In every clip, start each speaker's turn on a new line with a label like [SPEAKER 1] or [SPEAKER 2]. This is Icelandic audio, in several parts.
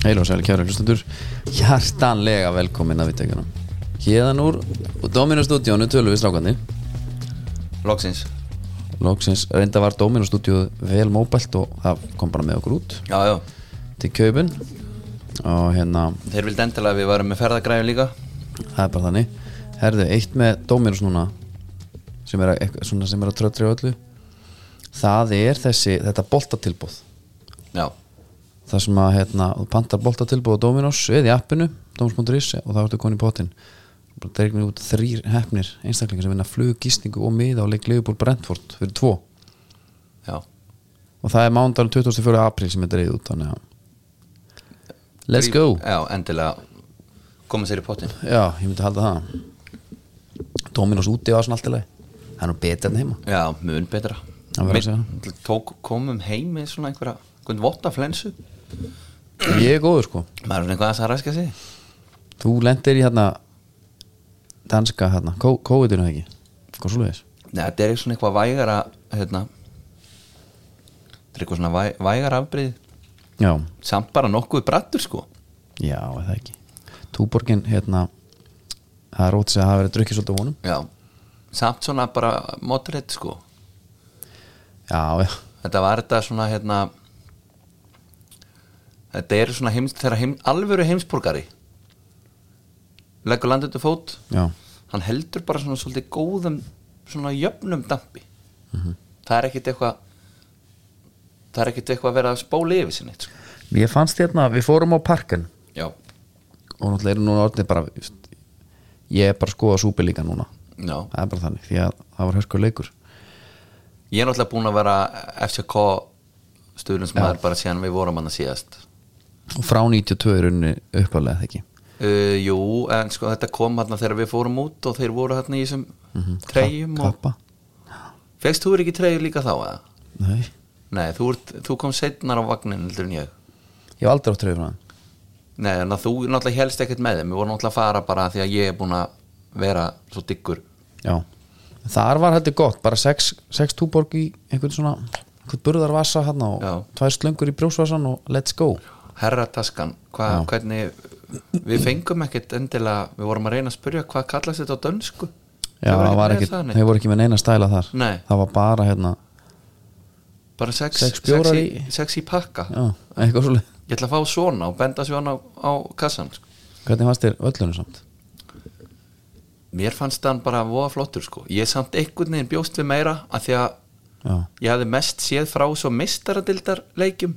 [SPEAKER 1] Heil og sæli kæra hlustandur Hjartanlega velkomin að vittekunum Hérðan úr Dominó stúdíónu tölum við strákandi
[SPEAKER 2] Loksins
[SPEAKER 1] Lóksins reynda var Dominó stúdíóð vel móbælt og það kom bara með okkur út
[SPEAKER 2] Já, já
[SPEAKER 1] til kaupin og hérna,
[SPEAKER 2] Þeir vildi endilega að við varum með ferðagræðu líka
[SPEAKER 1] það er bara þannig Herðu, eitt með Dominós núna sem er að, eitthvað svona sem er að tröttri á öllu það er þessi, þetta boltatilbúð
[SPEAKER 2] Já
[SPEAKER 1] það sem að hérna, þú pantar boltatilbúð á Dominós eða í appinu, domus.is og þá ertu komin í potinn bara dregnir út þrýr hefnir einstaklingar sem vinna flug, gísningu og miða á leik Leifubúl Brentford fyrir tvo
[SPEAKER 2] Já
[SPEAKER 1] og það er mándagur 24. apríl sem er dreigð út þannig að let's go
[SPEAKER 2] Já, endilega Koma sér í pottin
[SPEAKER 1] Já, ég myndi halda það Dominos úti var svona allt í lagi Það er nú betur en heima
[SPEAKER 2] Já, mun betra
[SPEAKER 1] Það verður að segja
[SPEAKER 2] Við tók, komum heim með svona einhverja Einhvern votta flensu
[SPEAKER 1] Ég er góður sko
[SPEAKER 2] Maður er svona eitthvað að það ræska sig
[SPEAKER 1] Þú lendir í hérna Danska hérna, COVID-19 ekki Hvað svo leiðis?
[SPEAKER 2] Nei, þetta er svona eitthvað vægara Hérna Þetta er eitthvað svona væ, vægar afbrið
[SPEAKER 1] Já,
[SPEAKER 2] Samt bara nokkuð brattur sko
[SPEAKER 1] já, er það ekki Túborgin hérna Það er rót sig að hafa verið drukkið svolítið á honum
[SPEAKER 2] Já Samt svona bara moderate sko
[SPEAKER 1] Já, já,
[SPEAKER 2] þetta var þetta svona hérna þetta er svona heims, þegar heim, alvöru heimsborgari leggur landið til fót
[SPEAKER 1] já
[SPEAKER 2] hann heldur bara svona svolítið góðum svona jöfnum dampi það er ekkit eitthvað það er ekkit eitthvað að vera að spóla yfir sinni sko.
[SPEAKER 1] Ég fannst hérna, við fórum á parkin
[SPEAKER 2] já,
[SPEAKER 1] Og náttúrulega eru núna orðnið bara Ég er bara að skoða súpi líka núna
[SPEAKER 2] já
[SPEAKER 1] Það er bara þannig, því að það var hörskur leikur
[SPEAKER 2] ég er náttúrulega búin að vera FCK stuðlinsmaður bara síðan við vorum hann að síðast
[SPEAKER 1] og frá 92 er unni uppalega það ekki
[SPEAKER 2] uh, jú, en sko þetta kom hann þegar við fórum út og þeir voru hann í þessum mm treyjum og
[SPEAKER 1] kappa,
[SPEAKER 2] Fegst þú er ekki treyju líka þá eða?
[SPEAKER 1] nei,
[SPEAKER 2] Nei, þú, ert, þú kom setnar á vagnin heldur en ég
[SPEAKER 1] ég hef aldrei átt treyju frá hann
[SPEAKER 2] Nei, en að þú náttúrulega helst ekkert með þeim Við vorum náttúrulega að fara bara því að ég er búin að vera svo diggur
[SPEAKER 1] já, þar var heldur gott bara 6 túborg í einhvern svona einhvern burðarvasa hann og
[SPEAKER 2] Já.
[SPEAKER 1] tvær slöngur í brjósvasan og let's go
[SPEAKER 2] Herra taskan, hva, hvernig Við fengum ekkert endilega Við vorum að reyna að spyrja hvað kallast þetta á dönsku
[SPEAKER 1] já, það var ekki,
[SPEAKER 2] með það, neitt.
[SPEAKER 1] þau voru ekki með neina stæla þar
[SPEAKER 2] Nei.
[SPEAKER 1] það var bara hérna
[SPEAKER 2] Bara sex,
[SPEAKER 1] Sex bjórar
[SPEAKER 2] sex,
[SPEAKER 1] í-
[SPEAKER 2] í, sex í pakka
[SPEAKER 1] já, eitthvað svolítið,
[SPEAKER 2] Ég ætla að fá svona og benda svona á, á kassan sko.
[SPEAKER 1] hvernig fannst þér öllunum samt
[SPEAKER 2] Mér fannst þann bara voða flottur sko. Ég samt einhvern veginn bjóst við meira að því að
[SPEAKER 1] já,
[SPEAKER 2] ég hafði mest séð frá svo mistaradildar leikjum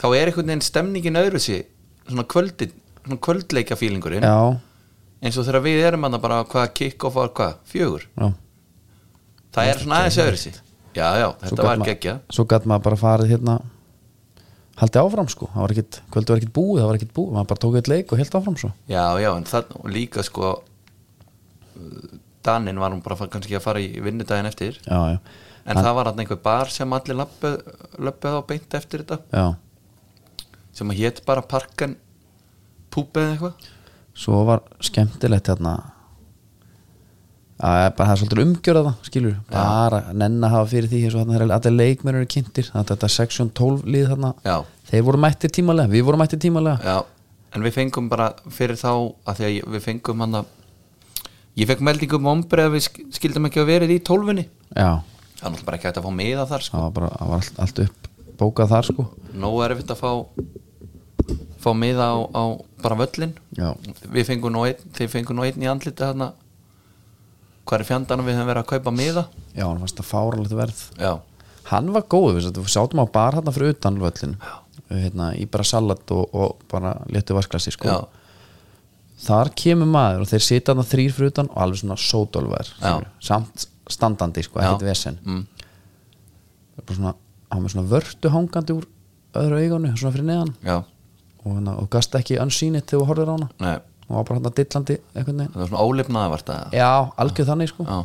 [SPEAKER 2] þá er einhvern veginn stemningin öðru sér svona, kvöldin, svona kvöldleikja fílingurinn
[SPEAKER 1] já,
[SPEAKER 2] eins og þegar við erum hann bara hvað kick-off var hvað, fjögur
[SPEAKER 1] já
[SPEAKER 2] það er svona aðeins öðru sér já, já,
[SPEAKER 1] Svo
[SPEAKER 2] þetta
[SPEAKER 1] gat
[SPEAKER 2] var
[SPEAKER 1] ma-
[SPEAKER 2] geggja
[SPEAKER 1] svo gæt maður bara farið hérna haldið áfram sko, það var ekkit kvöldu var ekkit búið, það var ekkit búið, maður bara tók eitt leik og held áfram svo
[SPEAKER 2] já, já, en þannig og líka sko uh, Daninn var hún bara að fara- kannski að fara í vinnudaginn eftir
[SPEAKER 1] já, já,
[SPEAKER 2] en það var hann einhver bar sem allir löppuð, löppuð á beint eftir þetta
[SPEAKER 1] já
[SPEAKER 2] sem að hét bara parkan púpið eða eitthvað
[SPEAKER 1] svo var skemmtilegt hérna að bara það er svolítið umgjörða það skilur, bara nenn að hafa fyrir því eins og þarna þegar allir leikmennur eru kynntir þannig að þetta section 12 lið þarna
[SPEAKER 2] Já.
[SPEAKER 1] þeir voru mættir tímalega, við vorum mættir tímalega
[SPEAKER 2] Já, en við fengum bara fyrir þá að því að ég- við fengum hann að ég fekk meldingum ombreið að við sk- skildum ekki að verið í tólfunni
[SPEAKER 1] já,
[SPEAKER 2] það er náttúrulega bara ekki hægt að fá miða þar sko.
[SPEAKER 1] það var bara það var allt, allt upp bókað þar sko
[SPEAKER 2] nóg er eftir að fá fá miða á, á bara völlin
[SPEAKER 1] já,
[SPEAKER 2] við fengum nú einn, þeir fengum nú einn í andliti þarna hvað er fjandanum við höfum verið að kaupa miða
[SPEAKER 1] já, hann fannst það fáralegt verð
[SPEAKER 2] já,
[SPEAKER 1] hann var góð, við við sátum á bar hérna fyrir utan völlin, hérna í bara salat og, og bara léttu vasklassi sko
[SPEAKER 2] já,
[SPEAKER 1] þar kemur maður og þeir sita þarna þrýr fyrir utan og alveg svona sótólver
[SPEAKER 2] Já.
[SPEAKER 1] samt standandi sko, ekkert
[SPEAKER 2] Já.
[SPEAKER 1] vesen
[SPEAKER 2] mm,
[SPEAKER 1] Það er bara svona, hann var svona vörtu hangandi úr öðru auganu, svona fyrir neðan
[SPEAKER 2] já
[SPEAKER 1] og, hana, og gast ekki unseen it þegar þú horfir á hana
[SPEAKER 2] Nei,
[SPEAKER 1] og var bara hann að dillandi einhvern veginn
[SPEAKER 2] það var svona ólefnaða vart að
[SPEAKER 1] já, algjör þannig sko
[SPEAKER 2] já,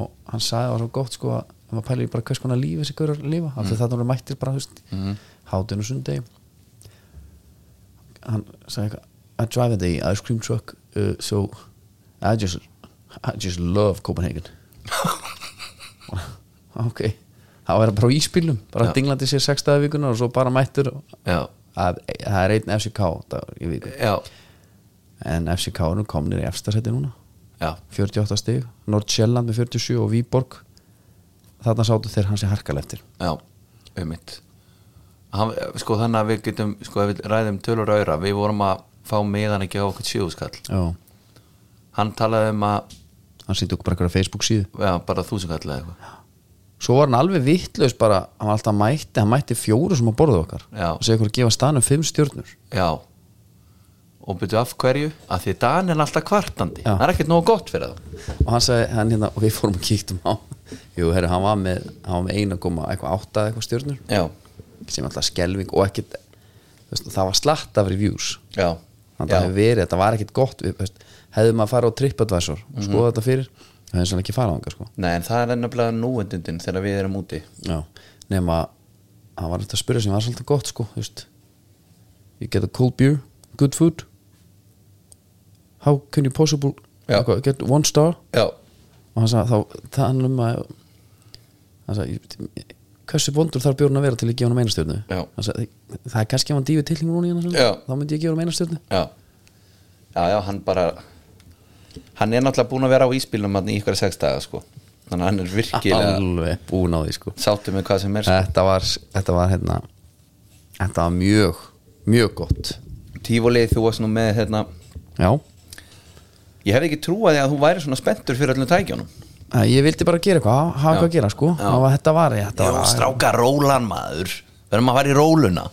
[SPEAKER 1] og hann sagði það var svo gott sko að hann var pælið í bara hvers konar lífi þessi gaurar lifa af því þarna voru mættir bara, þú veist mm. hátun og sundegi hann sagði eitthvað I drive the ice cream truck uh, so I just I just love Copenhagen ok þá er það bara á íspilum bara
[SPEAKER 2] Já.
[SPEAKER 1] dinglandi sér sextaði vikuna og svo bara mættur og
[SPEAKER 2] já
[SPEAKER 1] að, það er einn FCK dagur í viku
[SPEAKER 2] já,
[SPEAKER 1] en FCK eru komnir í efstasæti núna
[SPEAKER 2] já,
[SPEAKER 1] 48 stig, Nordsjælland með 47 og Víborg þarna sátu þeir hansi harkal eftir
[SPEAKER 2] já, um mitt Hann, sko þannig að við getum sko ef við ræðum tölur auðra við vorum að fá meðan ekki á okkur sjöfuskall
[SPEAKER 1] Já,
[SPEAKER 2] hann talaði um að
[SPEAKER 1] hann sýndi okkur bara einhverja Facebook síðu
[SPEAKER 2] já, bara þúsundkall eða eitthvað
[SPEAKER 1] svo var hann alveg vittlaus bara hann var alltaf mætti, hann mætti fjóru sem á borðu okkar
[SPEAKER 2] Já.
[SPEAKER 1] og segi okkur að gefa stanum fimm stjórnur
[SPEAKER 2] já og byrju af hverju að því Dan er alltaf kvartandi
[SPEAKER 1] Já.
[SPEAKER 2] það er ekkert nógu gott fyrir það
[SPEAKER 1] og hann sagði, hann hérna, og við fórum og kíktum á jú, herri, hann var með, hann var með eina koma eitthvað átta eitthvað stjórnur
[SPEAKER 2] já,
[SPEAKER 1] sem alltaf skelving og ekkit þú veist, það var slatt af reviews
[SPEAKER 2] já,
[SPEAKER 1] þannig að það
[SPEAKER 2] já,
[SPEAKER 1] hefur verið, þetta var ekkit gott við, þú veist, hefðum að fara á TripAdvisor og
[SPEAKER 2] Mhm.
[SPEAKER 1] skoða þetta fyrir, það hefði sann ekki farað ánga sko.
[SPEAKER 2] nei en það er nefnilega núendundin þegar við erum úti
[SPEAKER 1] já, nema hann var eftir að spyrja sem var svolítið gott sko, þú veist you get a cold beer, good food how can you possible
[SPEAKER 2] Já.
[SPEAKER 1] eitthvað, get one star
[SPEAKER 2] já,
[SPEAKER 1] og hann sagði þá, það hann um að hann sagði, hversu vondur þarf bjórn að vera til að gefa hann einastjörnu
[SPEAKER 2] Já.
[SPEAKER 1] hann sagði, það er kannski ef hann dýfi tilhengur núna í hann
[SPEAKER 2] Já.
[SPEAKER 1] þá myndi ég gefa hann einastjörnu
[SPEAKER 2] já já, já, hann bara hann er náttúrulega búin að vera á íspilnum þarna í ykkur sex daga sko þannig að hann er virkilega
[SPEAKER 1] alveg búin á því sko
[SPEAKER 2] sáttu með hvað sem er sko.
[SPEAKER 1] þetta var, þetta var hérna þetta var mjög, mjög gott
[SPEAKER 2] tífólið þú varst nú með hérna
[SPEAKER 1] já,
[SPEAKER 2] ég hefði ekki trúað því að þú væri svona spenntur fyrir öllum tækjónum
[SPEAKER 1] Æ, ég vildi bara gera eitthvað, hafa eitthvað að gera sko
[SPEAKER 2] Já.
[SPEAKER 1] það var þetta var, þetta var
[SPEAKER 2] stráka rólan maður verðum að fara í róluna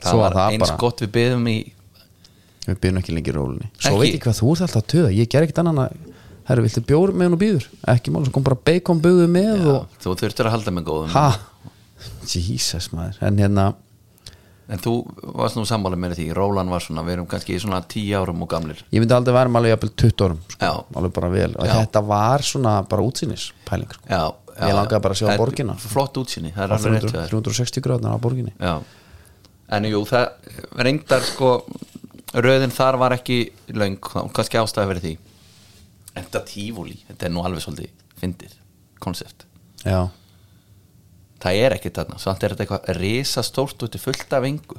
[SPEAKER 2] það
[SPEAKER 1] Svo var
[SPEAKER 2] var
[SPEAKER 1] það
[SPEAKER 2] eins
[SPEAKER 1] bara.
[SPEAKER 2] gott við byggðum í
[SPEAKER 1] við byrjum ekki lengi í rólinni svo
[SPEAKER 2] Ekki.
[SPEAKER 1] veit ég hvað þú ert alltaf að töða, ég ger ekkit annan að herru, viltu bjór með hún og býður ekki mál, svo kom bara bacon búðu með og
[SPEAKER 2] þú þurftur að halda með góðum
[SPEAKER 1] Ha? Jesus maður En hérna,
[SPEAKER 2] en þú varst nú sammála með því rólan var svona, við erum kannski í svona tíu árum og gamlir
[SPEAKER 1] ég myndi aldrei vera með alveg jafnvel 20 árum sko.
[SPEAKER 2] Já.
[SPEAKER 1] Alveg bara vel Og
[SPEAKER 2] Já.
[SPEAKER 1] þetta var svona bara útsýnis pæling sko.
[SPEAKER 2] já, já,
[SPEAKER 1] Ég langaði bara að sjá
[SPEAKER 2] Það er
[SPEAKER 1] borgina.
[SPEAKER 2] flott útsinni, það er
[SPEAKER 1] Á
[SPEAKER 2] alveg rétt
[SPEAKER 1] 300
[SPEAKER 2] hjá þér.
[SPEAKER 1] 360 gráðnar á borginni
[SPEAKER 2] já. en jú, það reyndar sko, röðin þar var ekki löng, þá kannski ástæði verið því en þetta tífúli þetta er nú alveg svolítið fyndið konsept,
[SPEAKER 1] Já,
[SPEAKER 2] það er ekki þarna samt er þetta eitthvað risastórt út í fullt af engu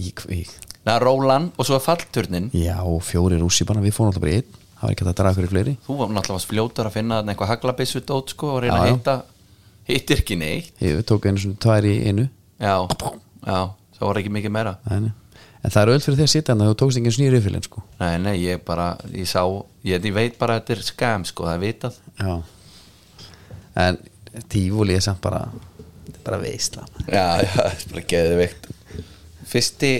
[SPEAKER 1] í, í,
[SPEAKER 2] Nei, Rólan og svo er fallturnin
[SPEAKER 1] já fjóri rússi bara Við fórum alltaf bara í einn Það var ekki hægt að draga hverju fleiri
[SPEAKER 2] þú var náttúrulega fljótar að finna þarna eitthvað haglabissu dót sko og reyna
[SPEAKER 1] Já,
[SPEAKER 2] að
[SPEAKER 1] já.
[SPEAKER 2] hitta hittir ekki neitt
[SPEAKER 1] Ég tók einu svona tvær í einu
[SPEAKER 2] já, já, það var ekki mikið meira
[SPEAKER 1] En, en það er öll fyrir því að sitja hérna Þú tókst engin snýri yfirlinn sko
[SPEAKER 2] nei, nei, ég bara, ég sá ég, ég veit bara að þetta er skam sko, það er vitað
[SPEAKER 1] Já En tífúli er samt bara Þetta er bara veisla maður.
[SPEAKER 2] já, já, það er bara geðið veikt fyrsti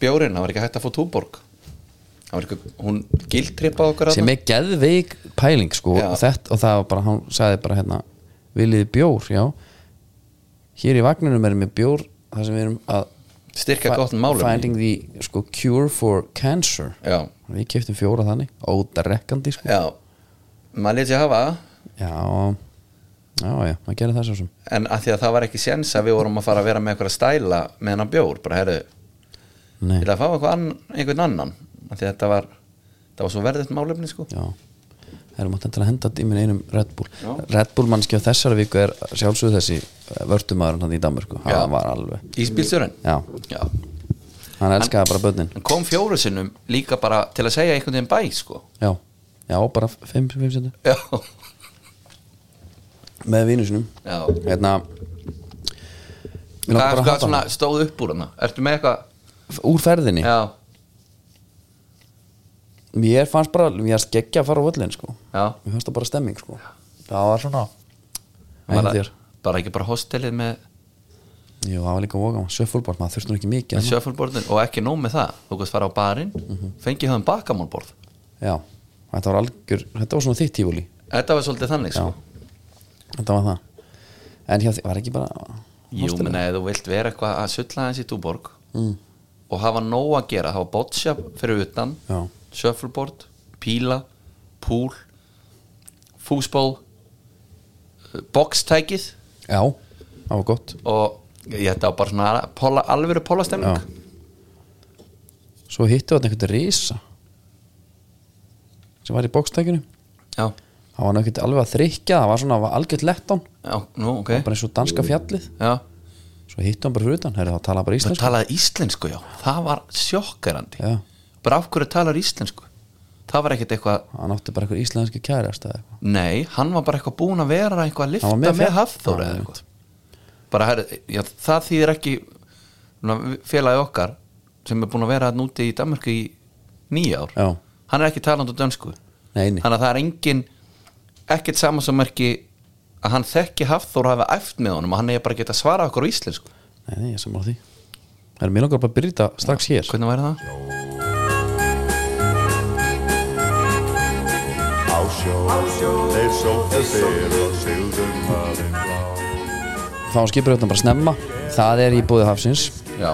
[SPEAKER 2] bjórin, það var ekki hægt að fá túborg það var ekki, hún gildtripa okkur
[SPEAKER 1] sem er geðveik pæling sko,
[SPEAKER 2] Já.
[SPEAKER 1] og, þetta, og það var bara, hann sagði bara hérna, viljið þið bjór, já hér í vagninum erum við bjór þar sem við erum að
[SPEAKER 2] styrka gott málum
[SPEAKER 1] finding the sko, cure for cancer
[SPEAKER 2] já,
[SPEAKER 1] við keftum fjóra þannig, ótarekkandi sko.
[SPEAKER 2] já, maður lítið hafa það
[SPEAKER 1] já, já, já, maður gerir það svo sem
[SPEAKER 2] en að því að það var ekki séns að við vorum að fara að vera með eitthvað stæla með hennan bjór bara herðu,
[SPEAKER 1] Nei,
[SPEAKER 2] til að fá eitthvað ann, einhvern annan að því að þetta var, það var svo verðitt málefni sko.
[SPEAKER 1] já erum átt endilega að henda dímin einum Red Bull
[SPEAKER 2] Já.
[SPEAKER 1] Red Bull mannski á þessari viku er sjálfsögðu þessi vörtumæður hann í Danmörku,
[SPEAKER 2] Já.
[SPEAKER 1] hann var alveg
[SPEAKER 2] Ísbílstjórinn
[SPEAKER 1] já,
[SPEAKER 2] Já.
[SPEAKER 1] hann elskaði bara börnin
[SPEAKER 2] Hann kom fjóru sinnum líka bara til að segja einhvern veginn bæ sko.
[SPEAKER 1] Já, já bara 5 sekundur
[SPEAKER 2] Já.
[SPEAKER 1] Með vinnu sinum
[SPEAKER 2] Já.
[SPEAKER 1] Hérna Mig
[SPEAKER 2] Hvað,
[SPEAKER 1] langar bara að
[SPEAKER 2] hvað
[SPEAKER 1] hafa
[SPEAKER 2] sko svona
[SPEAKER 1] hana.
[SPEAKER 2] stóð upp úr hana? Ertu með eitthvað?
[SPEAKER 1] Úr ferðinni
[SPEAKER 2] Já,
[SPEAKER 1] Mér fannst bara, mér fannst geggja að fara á völlin sko.
[SPEAKER 2] já
[SPEAKER 1] Mér fannst það bara stemming sko. Það var svona
[SPEAKER 2] Var
[SPEAKER 1] Ægir
[SPEAKER 2] það-
[SPEAKER 1] þér
[SPEAKER 2] Bara ekki bara hostelið með,
[SPEAKER 1] Jú, það var líka voga Sjöfúlbort, maður þurftur ekki mikið hérna.
[SPEAKER 2] með
[SPEAKER 1] annað.
[SPEAKER 2] sjöfálborðin og ekki nóg með það Þú veist fara á barinn,
[SPEAKER 1] Mhm.
[SPEAKER 2] fengið höfum bakamálborð
[SPEAKER 1] Já, þetta var algjör Þetta var svona þitt tífúli
[SPEAKER 2] Þetta var svolítið þannig
[SPEAKER 1] Já,
[SPEAKER 2] sko.
[SPEAKER 1] þetta var það En hjá því, var ekki bara
[SPEAKER 2] Jú, menn ef þú vilt vera eitthvað að sulla hans í túborg mm. og hafa nóg að gera hafa bottsja fyrir utan
[SPEAKER 1] Já.
[SPEAKER 2] shuffleboard, píla púl fúsból eh, bokstækið
[SPEAKER 1] Já, það var gott
[SPEAKER 2] og ég þetta var bara svona pola, alvöru
[SPEAKER 1] Já
[SPEAKER 2] pólastemning
[SPEAKER 1] Svo hittu þetta einhvern risa sem var í bókstækjunum
[SPEAKER 2] já,
[SPEAKER 1] það var nákvæmt alveg að þrykja það var svona var algjört lettán
[SPEAKER 2] já, nú ok
[SPEAKER 1] bara eins og danska fjallið
[SPEAKER 2] já,
[SPEAKER 1] svo hittu hann bara fyrir utan, herri þá tala hann bara
[SPEAKER 2] Það
[SPEAKER 1] íslensku
[SPEAKER 2] talaði íslensku, já Það var sjokkerandi
[SPEAKER 1] Já.
[SPEAKER 2] Bara af hverju talar íslensku Það var ekkert eitthvað
[SPEAKER 1] hann átti bara eitthvað íslenski kærasta eða eitthvað.
[SPEAKER 2] Nei, hann var bara eitthvað búin að vera eitthvað að lifta
[SPEAKER 1] Hann var
[SPEAKER 2] með,
[SPEAKER 1] með
[SPEAKER 2] með
[SPEAKER 1] fjall-
[SPEAKER 2] Hafþór
[SPEAKER 1] Já,
[SPEAKER 2] eða
[SPEAKER 1] einmitt.
[SPEAKER 2] eitthvað bara her, já, það þýðir ekki svona, félagi okkar sem er búin að vera hann úti í Danmarku í nýja ár
[SPEAKER 1] Já.
[SPEAKER 2] hann er ekki talandi á dönsku
[SPEAKER 1] Nei, nei.
[SPEAKER 2] þannig að það er engin ekkert saman sem er ekki að hann þekki Hafþór hafa æft með honum og hann er bara að geta svara okkur á íslensku
[SPEAKER 1] Nei, nei, ég er sammála því Herri, mér langar bara að byrja þetta strax hér
[SPEAKER 2] hvernig væri það?
[SPEAKER 3] Á sjó, þeir sóttu fyrr og sigðu hafinn blá.
[SPEAKER 1] Þá skipur þetta bara snemma Það er í búið hafsins
[SPEAKER 2] Já,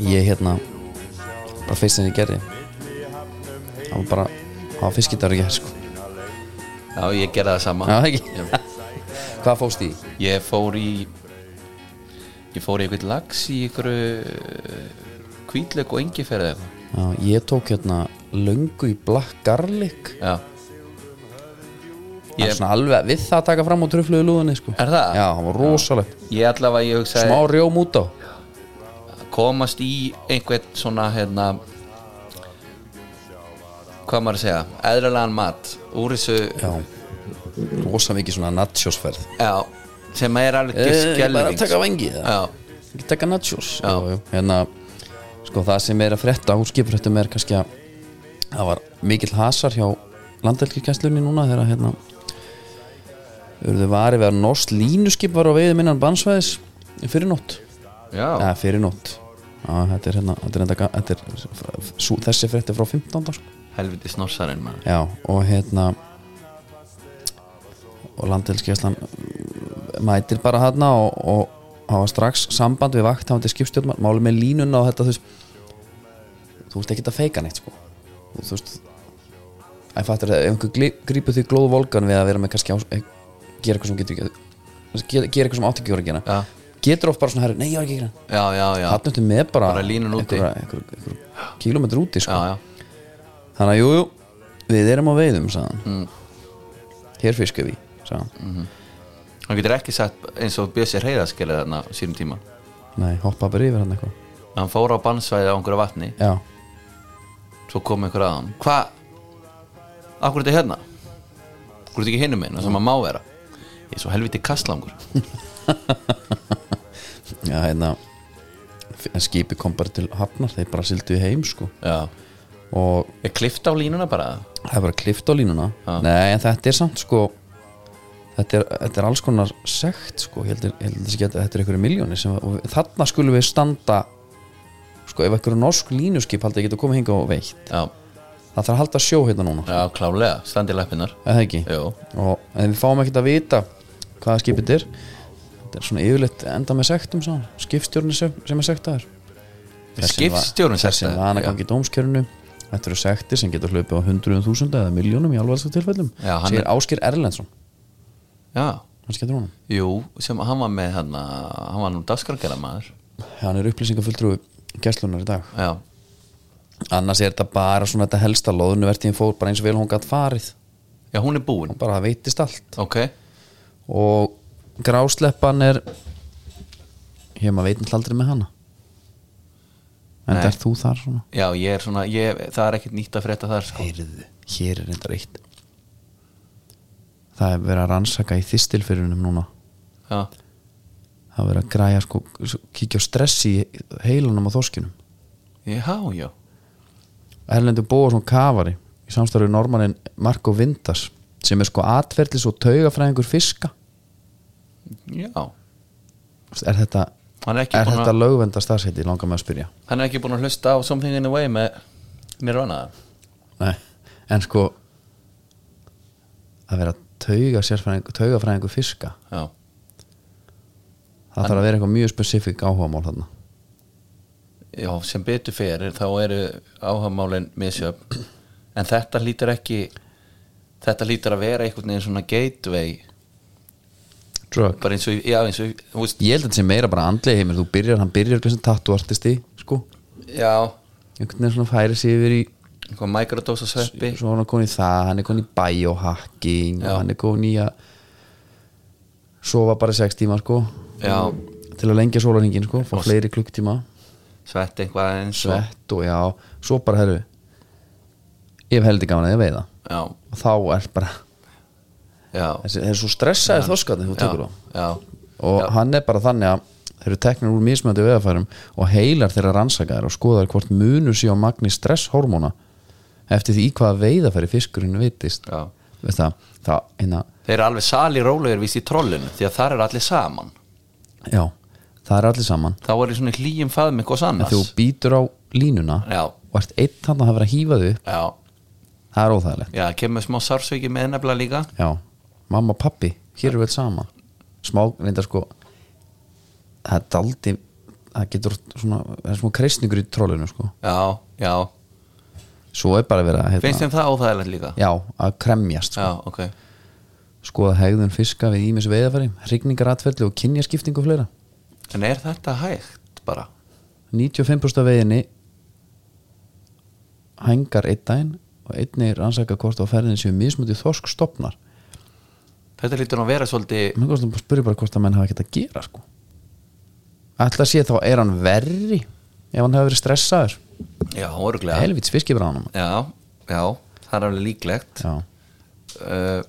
[SPEAKER 1] Ég hérna Bara fyrst sem ég gerði Það var bara Það var fiskidagur ekki sko
[SPEAKER 2] já ég gerði það sama
[SPEAKER 1] Ah, Já, það ekki Hvað fóst í?
[SPEAKER 2] Ég fór í Ég fór í eitthvað lags í einhverju Hvítlaug og engiferð eða eitthvað
[SPEAKER 1] Já, ég tók hérna Löngu í black garlic
[SPEAKER 2] Já
[SPEAKER 1] Það er
[SPEAKER 2] Ég,
[SPEAKER 1] svona alveg við það að taka fram á trufluðu lúðinni sko
[SPEAKER 2] Er það?
[SPEAKER 1] Já, það var rosalegt
[SPEAKER 2] ég allavega ég hugsaði
[SPEAKER 1] Smá rjóm út á
[SPEAKER 2] komast í einhvern svona hérna hvað á maður að segja eðlilegan mat úr þessu
[SPEAKER 1] Já Rosa mikið svona nachosferð Ah,
[SPEAKER 2] já, sem er alveg
[SPEAKER 1] Eh, bara að
[SPEAKER 2] skelving
[SPEAKER 1] taka vengi það
[SPEAKER 2] Já,
[SPEAKER 1] ekki taka nachos
[SPEAKER 2] Já.
[SPEAKER 1] Jú, jú. hérna, sko það sem er að frétta á skiprættum er kannski að það var mikill hasar hjá landelkirkjæslunni núna þegar að, hérna urðu vari við að norsk línuskip var á veiðum innan bannsvæðis fyrir nótt
[SPEAKER 2] já,
[SPEAKER 1] eða fyrir nótt Já, þetta er hérna, þetta er enda, þetta er sú, þessi frétti frá 15. Sko.
[SPEAKER 2] helviti snorsarinn maður
[SPEAKER 1] Já, og hérna og landhelskjæslan mætir bara þarna og, og hafa strax samband við vakt hafandi skipstjórnmar, máli með línuna og þetta þú veist þú veist ekki að feika neitt sko þú, þú veist að fattur það, ef einhver grípur því glóð volgan við að vera með kannski á, eh, gera eitthvað sem getur ekki gera, gera eitthvað sem átt ekki voru að gera
[SPEAKER 2] Já.
[SPEAKER 1] getur oft bara svona, herri, nei ég var ekki að gera
[SPEAKER 2] Já, já, já,
[SPEAKER 1] þarna ertu með bara,
[SPEAKER 2] Bara línuna úti.
[SPEAKER 1] einhverja- einhverja- einhverja kílómetra úti sko
[SPEAKER 2] já, já.
[SPEAKER 1] Þannig að jú, jú, við erum á veiðum sagðan.
[SPEAKER 2] Hmm.
[SPEAKER 1] Mm. Hér fiskum við sagðan.
[SPEAKER 2] Hann getur ekki sagt eins og Bjössi Hreiðars gerði þarna á sínum tíma
[SPEAKER 1] Nei, hoppa bara yfir hann eitthvað
[SPEAKER 2] Hann fór á bannsvæði á einhverju vatni
[SPEAKER 1] Já,
[SPEAKER 2] Svo kom einhver að hann Hvað? Akkur er þetta hérna? Akkur er þetta ekki hinum minn sem að má vera? Ég er svo helviti kastlangur
[SPEAKER 1] já hérna en skipi kom bara til hafnar þeir bara sildu heim sko
[SPEAKER 2] Já
[SPEAKER 1] og
[SPEAKER 2] Ég klifta á línuna bara
[SPEAKER 1] það er bara klift á línuna
[SPEAKER 2] Já.
[SPEAKER 1] Nei, en þetta er samt sko þetta er, þetta er alls konar sekt sko, ég heldur, heldur þess ekki að þetta er einhverju miljóni sem, og þarna skulum við standa sko, ef einhverju norsk línuskip haldið að geta komið hinga og veitt
[SPEAKER 2] Já,
[SPEAKER 1] það þarf að halda sjó hérna núna
[SPEAKER 2] já klálega, standi lappinnar
[SPEAKER 1] eða ekki?
[SPEAKER 2] Jó,
[SPEAKER 1] og en við fáum ekkert að vita hvaða skipið er þetta er svona yfirleitt enda með sektum sá. skipstjórnir sem, sem er sektaður
[SPEAKER 2] Skipstjórinn
[SPEAKER 1] þessi
[SPEAKER 2] sektaður,
[SPEAKER 1] vana
[SPEAKER 2] já.
[SPEAKER 1] gangi í dómskjörnu þetta eru sektir sem getur hlaupið á hundruðum þúsunda eða miljónum í alvarska tilfellum
[SPEAKER 2] Já, hann
[SPEAKER 1] segir
[SPEAKER 2] er-
[SPEAKER 1] Áskir Erlendsson
[SPEAKER 2] já
[SPEAKER 1] hann skemmtir honum
[SPEAKER 2] Jú, sem hann var með hann Hann var nú dagskrargerða maður
[SPEAKER 1] hann er upplýsingafulltrú gæslunar í dag
[SPEAKER 2] Já,
[SPEAKER 1] annars er þetta bara svona þetta helsta loðunvertíðin fór bara eins og vel hún gætt farið
[SPEAKER 2] já hún er búin
[SPEAKER 1] bara það veitist allt
[SPEAKER 2] Ok,
[SPEAKER 1] og grásleppan er ég maður veit náttúrulega aldrei með hana en
[SPEAKER 2] Nei.
[SPEAKER 1] er þú þar svona
[SPEAKER 2] já ég er svona ég, Það er ekkert nýtt að frétta þar sko
[SPEAKER 1] Heyrðu, hér er reyndar eitt Það er verið að rannsaka í þistilfyrunum núna
[SPEAKER 2] Já,
[SPEAKER 1] Það er verið að græja sko kíkja á stress í heilunum á þorskinum
[SPEAKER 2] já, já
[SPEAKER 1] Erlendur Bóðarsson Kavari í samstarfið normannin Marko Vindas sem er sko atferðlis og taugafræðingur fiska
[SPEAKER 2] Já,
[SPEAKER 1] Er þetta,
[SPEAKER 2] hann er ekki
[SPEAKER 1] er
[SPEAKER 2] búin
[SPEAKER 1] þetta
[SPEAKER 2] að
[SPEAKER 1] lögvenda starfsheiti langar með að spyrja
[SPEAKER 2] Hann er ekki búin að hlusta á Something in the way með Nirvana
[SPEAKER 1] Nei, en sko að vera tauga sérfræðingur, taugafræðingur fiska
[SPEAKER 2] Já
[SPEAKER 1] það þarf að vera eitthvað mjög spesifik áhugamál þarna
[SPEAKER 2] Já, sem betur fyrir þá eru áhagamálin misjöf en þetta hlýtur ekki þetta hlýtur að vera einhvern veginn svona gateway
[SPEAKER 1] Drug
[SPEAKER 2] bara eins og, já, eins og þú veist,
[SPEAKER 1] ég held að þetta sé meira bara andlega heimur þú byrjar, hann byrjar sem tattúartisti sko,
[SPEAKER 2] já,
[SPEAKER 1] einhvern veginn svona færi sig yfir í
[SPEAKER 2] einhvern mikrodós og sveppi
[SPEAKER 1] svo hann er komin í það, hann er komin í biohacking
[SPEAKER 2] Já.
[SPEAKER 1] og hann er komin í að sofa bara í sex tíma sko
[SPEAKER 2] já,
[SPEAKER 1] til að lengja sólarhingin sko, fá fleiri klukktíma
[SPEAKER 2] svett eitthvað eins og
[SPEAKER 1] svett og já, svo bara herru ef heldur gaman að ég veiða
[SPEAKER 2] já,
[SPEAKER 1] og þá er bara
[SPEAKER 2] já,
[SPEAKER 1] þessi, þessi svo stressaði þoskatni þú tekur þá
[SPEAKER 2] já,
[SPEAKER 1] og hann er bara þannig að þeir eru teknir úr mismöndi veðafærum og heilar þeirra rannsakaðar og skoðar hvort munur sé á magni stresshormóna eftir því í hvaða veiðafæri fiskurinn vitist
[SPEAKER 2] já
[SPEAKER 1] Veist það, það, hérna,
[SPEAKER 2] þeir eru alveg sali rólegir víst í trollinu því að þar eru allir saman
[SPEAKER 1] já, það er allir saman
[SPEAKER 2] þá er ég svona í hlýjum faðum eitthvað
[SPEAKER 1] en þú
[SPEAKER 2] annars
[SPEAKER 1] býtur á línuna
[SPEAKER 2] já,
[SPEAKER 1] og ert einn hann að hafa verið að hífa þau upp,
[SPEAKER 2] já,
[SPEAKER 1] það er óþægilegt
[SPEAKER 2] já, kemur smá sársveiki með nefnilega líka
[SPEAKER 1] já, mamma og pappi, hér eru við öll saman smá, reyndar sko það er daldi það getur oft svona, það er smá kreisningur í trollinu sko,
[SPEAKER 2] já, já,
[SPEAKER 1] svo er bara verið að hérna,
[SPEAKER 2] finnst þeim það óþægilegt líka
[SPEAKER 1] já, að kremjast sko.
[SPEAKER 2] já, ok,
[SPEAKER 1] skoða hegðun fiska við ímis veiðafæri hrygningaratferli og kynjaskiptingu og fleira
[SPEAKER 2] en er þetta hægt bara
[SPEAKER 1] 95% af veiðinni hængar einn daginn og einni rannsaka hvort á ferðinni séu mismutið þorsk stopnar
[SPEAKER 2] þetta lítur nú að vera svolítið
[SPEAKER 1] menn kostum bara spurði bara hvort að menn hafa ekkert að gera sko ætla að sé þá er hann verri ef hann hefur verið stressaður
[SPEAKER 2] já,
[SPEAKER 1] ja.
[SPEAKER 2] orglega
[SPEAKER 1] helvits fiskibranum
[SPEAKER 2] já, já, það er alveg líklegt
[SPEAKER 1] já
[SPEAKER 2] uh,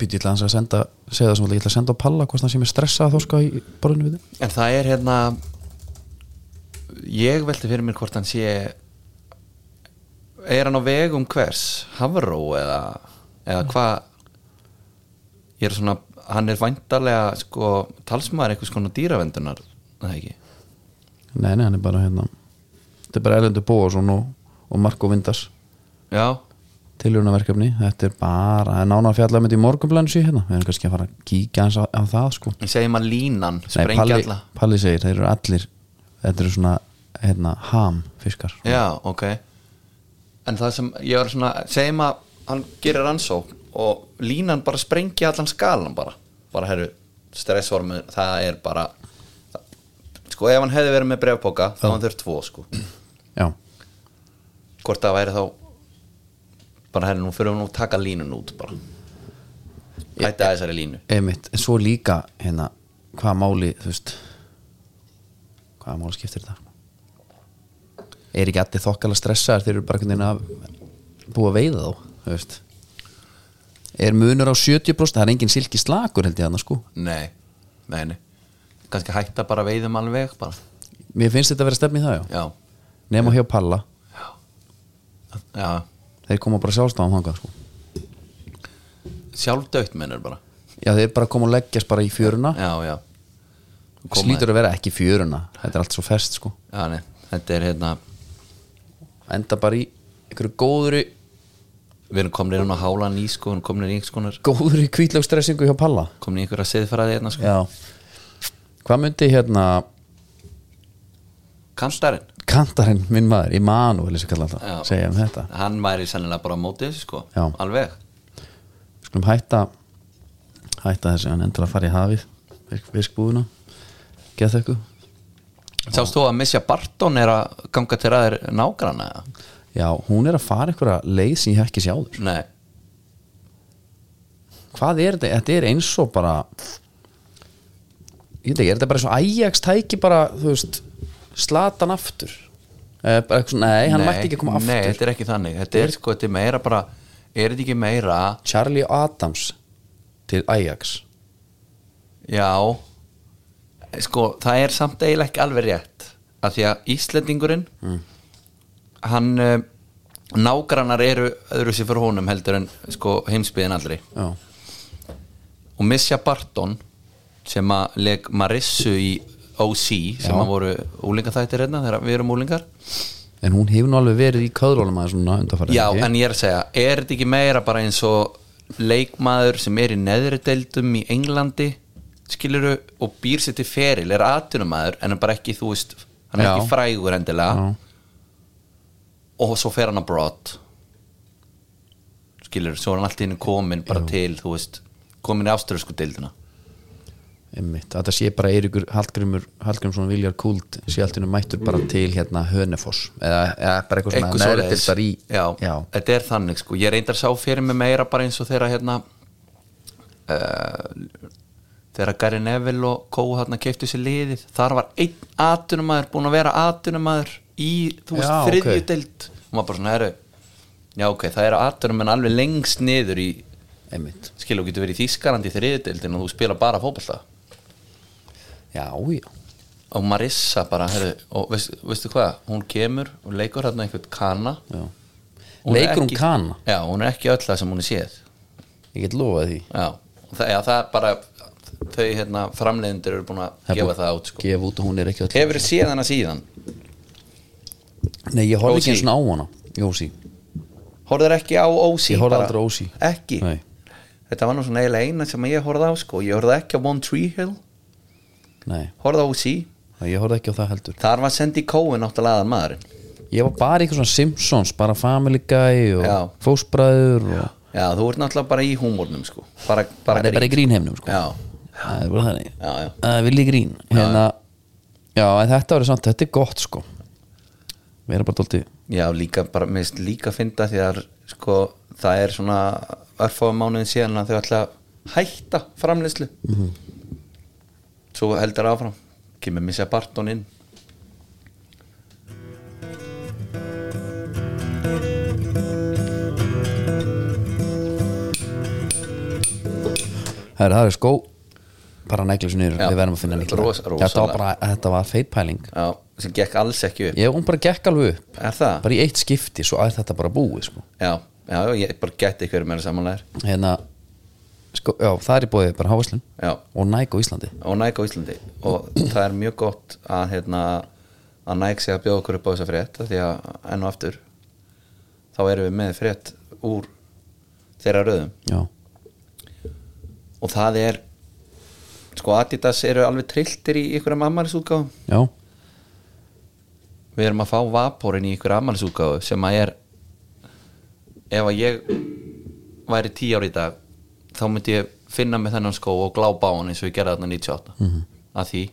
[SPEAKER 1] býtti ég ætla hans að senda segja það sem ég ætla að senda á palla hvort hann sé með stressaða þorska í borðinu við þig.
[SPEAKER 2] en það er hérna ég velti fyrir mér hvort hann sé er hann á vegum hvers Havró eða, eða hvað ég er svona, hann er væntarlega sko, talsmaður einhvers konar dýravendunar er það ekki,
[SPEAKER 1] nei nei hann er bara hérna þetta er bara Erlendur Bóasson og, og Marko Vindas
[SPEAKER 2] já
[SPEAKER 1] tilhjörnaverkefni, þetta er bara það er nánar fjallega með því morgunblæðinu síðan hérna við erum kannski að fara að kíkja hans á, á það sko
[SPEAKER 2] ég segi maður línan,
[SPEAKER 1] Nei,
[SPEAKER 2] sprengi
[SPEAKER 1] Palli,
[SPEAKER 2] alla
[SPEAKER 1] Palli segir, þeir eru allir þetta eru svona hérna, ham fiskar
[SPEAKER 2] já, ok en það sem ég var svona, segjum að hann gerir rannsók og línan bara sprengi allan skalan bara bara herru, stressormur, það er bara sko ef hann hefði verið með brefpoka þá hann þurft tvo sko
[SPEAKER 1] já,
[SPEAKER 2] hvort það væri þá bara herru, nú fyrir við nú að taka línun út bara hætti að þessari línu
[SPEAKER 1] einmitt, en svo líka hérna, hvaða máli þú veist hvaða máli skiptir þetta er ekki allir þokkala stressaðar þeir eru bara einhvern veginn að búa að veiða þá þú veist er munur á 70% það er engin silki slakur held ég þarna sko
[SPEAKER 2] nei, nei, nei kannski hætta bara veiðum alveg bara,
[SPEAKER 1] mér finnst þetta að vera stefni í það já
[SPEAKER 2] já,
[SPEAKER 1] nema hjá Palla
[SPEAKER 2] já
[SPEAKER 1] þeir koma bara sjálfstafan þangað sko.
[SPEAKER 2] sjálfdautt mennur bara,
[SPEAKER 1] já þeir bara koma og leggjast bara í fjöruna
[SPEAKER 2] já, já
[SPEAKER 1] Koma slítur að vera ekki fjöruna þetta er allt svo fest sko
[SPEAKER 2] Já, nei, þetta er hérna
[SPEAKER 1] enda bara í einhverju góðri
[SPEAKER 2] Við erum komin inn á hálan í sko Við erum komin inn í einhvers konar
[SPEAKER 1] góðri kvítlögstressingu hjá Palla
[SPEAKER 2] Komin í einhverja siðfræði hérna sko
[SPEAKER 1] já hvað myndi hérna
[SPEAKER 2] Kanslarinn,
[SPEAKER 1] kantarinn minn maður, Immanuel sem kallar
[SPEAKER 2] Já.
[SPEAKER 1] alltaf, segja um þetta
[SPEAKER 2] hann væri sennilega bara á mótið þessu sko
[SPEAKER 1] Já.
[SPEAKER 2] Alveg
[SPEAKER 1] skulum hætta hætta þessu, hann endur að fara í hafið virk- virkbúðuna geð þekku
[SPEAKER 2] Sást þú að Missja Barton er að ganga til aðeir nágrana eða?
[SPEAKER 1] já, hún er að fara einhverja leið sem ég hef ekki sjáður
[SPEAKER 2] Nei,
[SPEAKER 1] hvað er þetta, þetta er eins og bara ég veit ekki, er þetta bara eins og Ajax tæki bara, þú veist slatan aftur eh, bara eitthvað svona, nei, hann
[SPEAKER 2] nei,
[SPEAKER 1] mætti ekki að koma aftur
[SPEAKER 2] Nei, þetta er ekki þannig Þetta er sko, þetta er meira bara Er þetta ekki meira
[SPEAKER 1] Charlie Adams til Ajax
[SPEAKER 2] Já Sko, það er samt eiginlega ekki alveg rétt að því að Íslendingurinn hann eh, nágrannar eru öðru sér fyrir honum heldur en sko heimsbyðin allri
[SPEAKER 1] já,
[SPEAKER 2] og Missja Barton sem að leg Marissu í OC sem
[SPEAKER 1] Já.
[SPEAKER 2] að voru úlingaþættir hérna þegar við erum úlingar
[SPEAKER 1] en hún hefur nú alveg verið í köðlólum aðeins svona undarfæri
[SPEAKER 2] Já, en ég er að segja, er þetta ekki meira bara eins og leikmaður sem er í neðri deildum í Englandi skiluru og býr sér til feril er atvinnumæður en er bara ekki þú veist hann er
[SPEAKER 1] Já.
[SPEAKER 2] ekki frægur endilega
[SPEAKER 1] já,
[SPEAKER 2] og svo fer hann abroad skiluru, svo er hann alltaf inn komin bara til, þú veist komin í áströðsku deildina
[SPEAKER 1] einmitt, þetta sé bara Eirikur Hallgrimur Hallgrimsson Viljar Kult sé allt henni mættur bara til hérna Hönefoss eða, eða bara eitthvað svona
[SPEAKER 2] Mm. eitthvað
[SPEAKER 1] neðri deildar í-
[SPEAKER 2] svoleiðis. já,
[SPEAKER 1] já,
[SPEAKER 2] þetta er þannig sko ég reyndar sá fyrir mig meira bara eins og þeirra hérna uh, þegar Gary Neville og Kóu hann keiftu sér liðið þar var einn atunumæður búin að vera atunumæður í þú veist
[SPEAKER 1] Já,
[SPEAKER 2] þriðju
[SPEAKER 1] ok.
[SPEAKER 2] deild og maður bara svona heru já ok það eru atunumenn alveg lengst niður í
[SPEAKER 1] einmitt
[SPEAKER 2] skilu getur verið í Þískarandi í þriðju deildin og þú spila bara fótballta
[SPEAKER 1] já, já,
[SPEAKER 2] og Marissa bara heru, og veist, veistu hvað hún kemur og leikur hann einhvern kana
[SPEAKER 1] já.
[SPEAKER 2] Hún er
[SPEAKER 1] leikur hún
[SPEAKER 2] ekki-
[SPEAKER 1] kana
[SPEAKER 2] já hún er ekki öll það sem hún er séð
[SPEAKER 1] ég get lofað því
[SPEAKER 2] Já, og það, já, það er bara þau hérna, framleiðendur eru búin að gefa það át sko.
[SPEAKER 1] gefa út og hún er ekki öll
[SPEAKER 2] Hefur þið séð hana síðan?
[SPEAKER 1] nei, ég horfði ekki
[SPEAKER 2] Rósi.
[SPEAKER 1] eins og á hana Jósi,
[SPEAKER 2] Horður ekki á Ósi?
[SPEAKER 1] Ég horfði
[SPEAKER 2] bara?
[SPEAKER 1] aldrei á OC.
[SPEAKER 2] Ekki?
[SPEAKER 1] Nei.
[SPEAKER 2] Þetta var nú svona eiginlega eina sem ég horfði á sko. Ég horfði ekki á One Tree Hill
[SPEAKER 1] nei,
[SPEAKER 2] Horfði á Ósi
[SPEAKER 1] ég horfði ekki á það heldur
[SPEAKER 2] Þar var Sandy Cohen náttúrulega aðan maðurinn
[SPEAKER 1] ég var bara eitthvað svona Simpsons, bara Family Guy og
[SPEAKER 2] Já.
[SPEAKER 1] Fósbræður og
[SPEAKER 2] Já, þú ert náttúrulega bara í húmórnum sko. bara, bara
[SPEAKER 1] það er bara í grínheimnum sko.
[SPEAKER 2] Já,
[SPEAKER 1] það er bara þannig
[SPEAKER 2] Já, já.
[SPEAKER 1] það er villi grín Eh, hérna, já, en þetta verður samt, þetta er gott sko við erum bara dóltið
[SPEAKER 2] já líka bara, mér finnst líka að finna því að sko, það er svona örfáum mánuðin síðan að þau ætla að hætta framleiðslu Svo heldur áfram Kemur missa Barton inn
[SPEAKER 1] Herra, það er skó bara neglu sem niður,
[SPEAKER 2] Já.
[SPEAKER 1] við verðum að finna neglu
[SPEAKER 2] Ros-
[SPEAKER 1] þetta var
[SPEAKER 2] rosalega.
[SPEAKER 1] bara, þetta var feitpæling
[SPEAKER 2] Já, sem gekk alls ekki upp
[SPEAKER 1] ég, hún bara gekk alveg upp,
[SPEAKER 2] Er það?
[SPEAKER 1] bara í eitt skipti svo að þetta bara búið, sko
[SPEAKER 2] Já, já, já, ég bara geti ykkur meira samanlegar
[SPEAKER 1] hérna, sko, já, það er í bóðið bara Hávaslun
[SPEAKER 2] Já,
[SPEAKER 1] og Næk á Íslandi
[SPEAKER 2] og Nike á Íslandi og það er mjög gott að hérna, að Nike sé að bjóða okkur upp á þessa frétt af því að enn og aftur þá erum við með frétt úr þeirra röðum
[SPEAKER 1] já,
[SPEAKER 2] og það er sko Adidas eru alveg trilltir í ykkur ammælisútgáfum
[SPEAKER 1] já,
[SPEAKER 2] við erum að fá vaporin í ykkur ammælisútgáfu sem að er ef að ég væri tí ári í dag þá myndi ég finna með þennan skó og glápa á hann eins og ég gerði þarna 98 -hmm. að því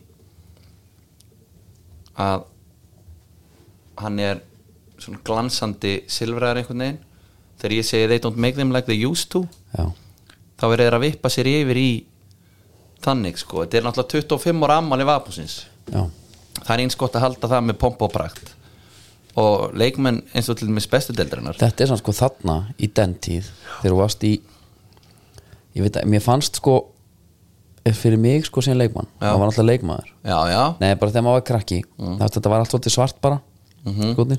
[SPEAKER 2] að hann er svona glansandi silfraðar einhvern veginn þegar ég segi they don't make them like they used to
[SPEAKER 1] já
[SPEAKER 2] þá verður þeir að vippa sér yfir í þannig sko, þetta er náttúrulega 25 ára ammali vapusins
[SPEAKER 1] já,
[SPEAKER 2] það er eins gott að halda það með pomp og prakt og leikmenn eins og til með bestu deildrinnar
[SPEAKER 1] þetta er samt sko þarna í den tíð þegar þú varst í ég veit að, mér fannst sko eh, fyrir mig sko sem leikmann
[SPEAKER 2] Já.
[SPEAKER 1] það var alltaf leikmaður,
[SPEAKER 2] já, já,
[SPEAKER 1] nei bara þegar maður var krakki mm. þetta var allt svolítið svart bara
[SPEAKER 2] Mhm.
[SPEAKER 1] skotnir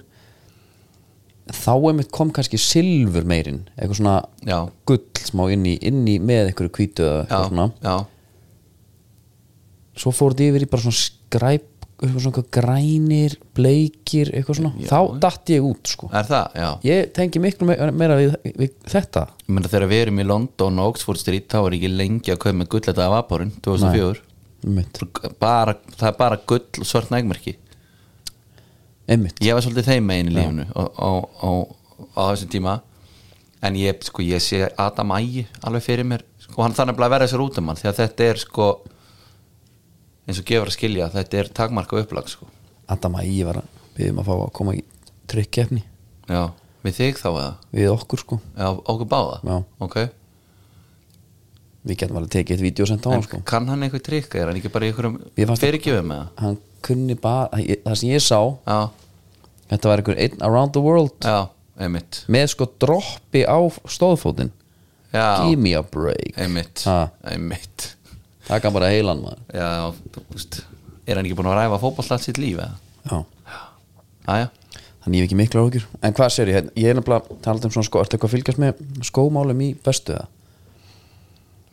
[SPEAKER 1] þá einmitt kom kannski silfur meirinn eitthvað svona
[SPEAKER 2] já,
[SPEAKER 1] gull smá inn í, inn í með einhverju hvítu eða
[SPEAKER 2] já,
[SPEAKER 1] eitthvað svona
[SPEAKER 2] já
[SPEAKER 1] svo fór þetta yfir í bara svona skræp eitthvað svona eitthvað grænir, bleikir eitthvað svona, þá datt ég út sko
[SPEAKER 2] er það, já
[SPEAKER 1] ég tengi miklu me- meira við, við þetta
[SPEAKER 2] ég meina þegar við erum í London og Oxford Street þá er ekki lengi að kaupa með gull þetta af vaporinn 2004
[SPEAKER 1] einmitt,
[SPEAKER 2] bara, það er bara gull og svart nægmerki
[SPEAKER 1] einmitt.
[SPEAKER 2] ég var svolítið þeim megin í lífinu og, og, og, og á þessum tíma en ég, sko, ég sé Adam Ægi alveg fyrir mér sko, hann þannig að vera þessar útumann því að þetta er sko eins og gefur að skilja þetta er takmarka upplag sko.
[SPEAKER 1] Adam að ég var að byggðum að fá að koma í tryggkefni
[SPEAKER 2] já, við þig þá eða
[SPEAKER 1] við okkur sko
[SPEAKER 2] já, okkur báða
[SPEAKER 1] Já.
[SPEAKER 2] ok,
[SPEAKER 1] við getum alveg tekið eitt vídeo og senda á hann
[SPEAKER 2] en
[SPEAKER 1] sko
[SPEAKER 2] kann hann eitthvað trikka er hann ekki bara
[SPEAKER 1] Mér
[SPEAKER 2] í einhverjum
[SPEAKER 1] fannst-
[SPEAKER 2] fyrirgjöfum eða
[SPEAKER 1] hann kunni bara, ég- það sem ég sá
[SPEAKER 2] já,
[SPEAKER 1] þetta var einhver einn around the world
[SPEAKER 2] já, einmitt
[SPEAKER 1] með sko droppi á stóðfótinn
[SPEAKER 2] já,
[SPEAKER 1] give me a break
[SPEAKER 2] einmitt
[SPEAKER 1] Ha.
[SPEAKER 2] einmitt
[SPEAKER 1] taka bara heilan maður
[SPEAKER 2] já, þú veist er hann ekki búin að ræfa fótbollt allt sitt líf eða
[SPEAKER 1] Já.
[SPEAKER 2] aðja,
[SPEAKER 1] þannig ég hef ekki miklu áhugjur en hvað sér ég, Hérna, ég er nefnilega talað um svona sko, ertu eitthvað að fylgjast með skómálum í bestu eða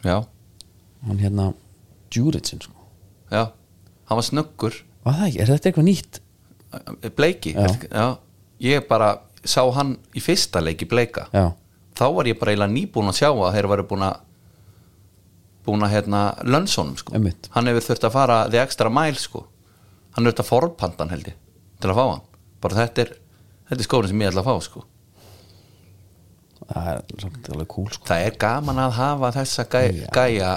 [SPEAKER 2] já,
[SPEAKER 1] hann hérna, Djuritsin sko
[SPEAKER 2] já hann var snöggur
[SPEAKER 1] var það ekki, er þetta eitthvað nýtt
[SPEAKER 2] Bleiki
[SPEAKER 1] Já.
[SPEAKER 2] Já. ég bara sá hann í fyrsta leiki Bleika
[SPEAKER 1] já,
[SPEAKER 2] þá var ég bara eiginlega nýbúin að sjá að þeir eru búin að búin að hérna lönnsónum sko
[SPEAKER 1] Einmitt.
[SPEAKER 2] hann hefur þurft að fara the extra mile sko hann er þurft að forpantan held ég til að fá hann bara þetta er, þetta er skórin sem ég ætla að fá sko
[SPEAKER 1] það er samt alveg cool sko
[SPEAKER 2] það er gaman að hafa þessa gæ,
[SPEAKER 1] Já.
[SPEAKER 2] gæja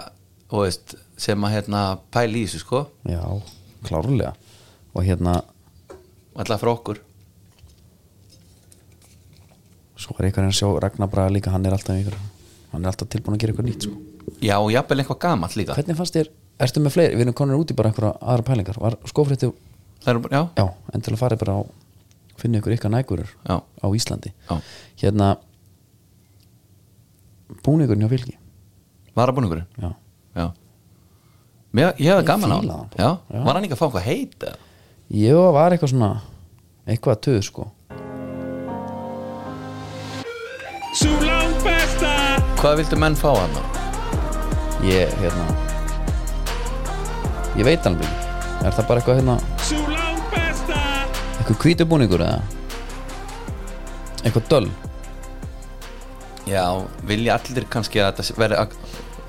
[SPEAKER 2] þú veist, sem að hérna pæli í þessu sko
[SPEAKER 1] já, klárlega og hérna,
[SPEAKER 2] alltaf frá okkur
[SPEAKER 1] svo er eitthvað að sjá Ragnar Braga líka, hann er alltaf ykkur hann er alltaf tilbúin að gera eitthvað nýtt sko.
[SPEAKER 2] já, og jafnvel eitthvað gamall líka
[SPEAKER 1] hvernig fannst þér, ertu með fleiri við erum konin út í bara einhverja aðra pælingar var skófrétti,
[SPEAKER 2] það eru bara, já,
[SPEAKER 1] já, en til að fara bara á finna ykkur ykkar nægurur
[SPEAKER 2] Já.
[SPEAKER 1] á Íslandi
[SPEAKER 2] Já.
[SPEAKER 1] hérna búningurinn hjá fylgi
[SPEAKER 2] varabúningurinn
[SPEAKER 1] já.
[SPEAKER 2] já Mér, ég hefði gaman á
[SPEAKER 1] fíla
[SPEAKER 2] hann
[SPEAKER 1] hann.
[SPEAKER 2] já,
[SPEAKER 1] Já.
[SPEAKER 2] var hann ekki að fá eitthvað heit eða?
[SPEAKER 1] ég var eitthvað svona eitthvað að töðu sko
[SPEAKER 4] Sú langt besta
[SPEAKER 2] hvað vildu menn fá hann
[SPEAKER 1] ég, hérna ég veit alveg ekki. er það bara eitthvað hérna
[SPEAKER 4] Sú langt besta
[SPEAKER 1] eitthvað kvítubúningur eða eitthvað döl
[SPEAKER 2] já, vilja allir kannski að þetta veri að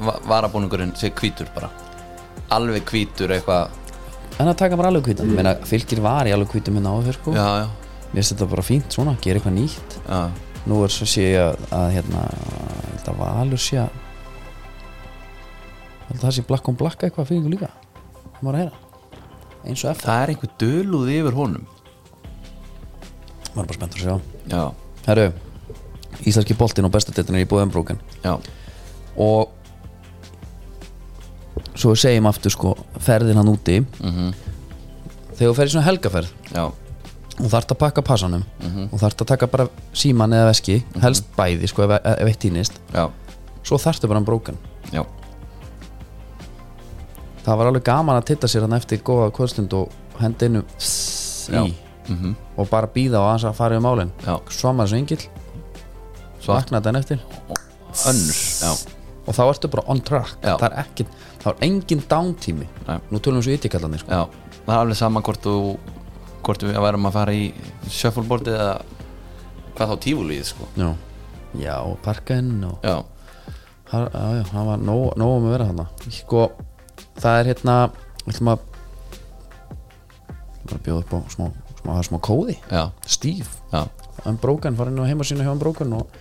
[SPEAKER 2] va- varabúningurinn sé hvítur bara alveg hvítur eitthvað
[SPEAKER 1] en að taka bara alveg kvítan meina, fylgir var í alveg kvítum hérna áður sko.
[SPEAKER 2] já, já,
[SPEAKER 1] mér finnst þetta bara fínt svona, gera eitthvað nýtt
[SPEAKER 2] já,
[SPEAKER 1] nú er svo sé ég að, að hérna, ég held að valur sé að ég held að það sé black on black eitthvað fyrir ykkur líka það maður að heyra eins og eftir
[SPEAKER 2] það er einhver döluð yfir honum
[SPEAKER 1] maður er bara spenntur að sjá
[SPEAKER 2] já,
[SPEAKER 1] herru, Íslandski boltinn og bestadeltin er í búið umbrókin
[SPEAKER 2] já,
[SPEAKER 1] og svo við segjum aftur sko ferðin hann úti þegar þú ferð í svona helgaferð
[SPEAKER 2] já,
[SPEAKER 1] og þarft að pakka passanum og þarft að taka bara síman eða veski helst bæði sko ef, ef eitt týnist
[SPEAKER 2] já,
[SPEAKER 1] svo þarftu bara hann brókan
[SPEAKER 2] já
[SPEAKER 1] það var alveg gaman að titta sér hann eftir góða kvöldstund og henda innu
[SPEAKER 2] Já.
[SPEAKER 1] í og bara býða og aðeins að fara um málin
[SPEAKER 2] Já.
[SPEAKER 1] svo maður svo yngill
[SPEAKER 2] Svo-
[SPEAKER 1] svo vaknaði hann eftir
[SPEAKER 2] önnur, já,
[SPEAKER 1] og þá ertu bara on track
[SPEAKER 2] Já.
[SPEAKER 1] það er ekki, þá er engin downtími
[SPEAKER 2] Nei.
[SPEAKER 1] nú tölum við svo ytjekallanir sko.
[SPEAKER 2] já það er alveg sama hvort þú hvort við værum að fara í shuffleboardið eða hvað þá tífulíð sko
[SPEAKER 1] já, já og parkinn og
[SPEAKER 2] já,
[SPEAKER 1] já, já, já, það var nóg, nóg um að vera þarna sko, það er hérna við ætlum að bara bjóða upp á smá, smá, það er smá kóði
[SPEAKER 2] já,
[SPEAKER 1] Steve,
[SPEAKER 2] já,
[SPEAKER 1] Unbroken, fara inn á heimasínu hjá Unbroken og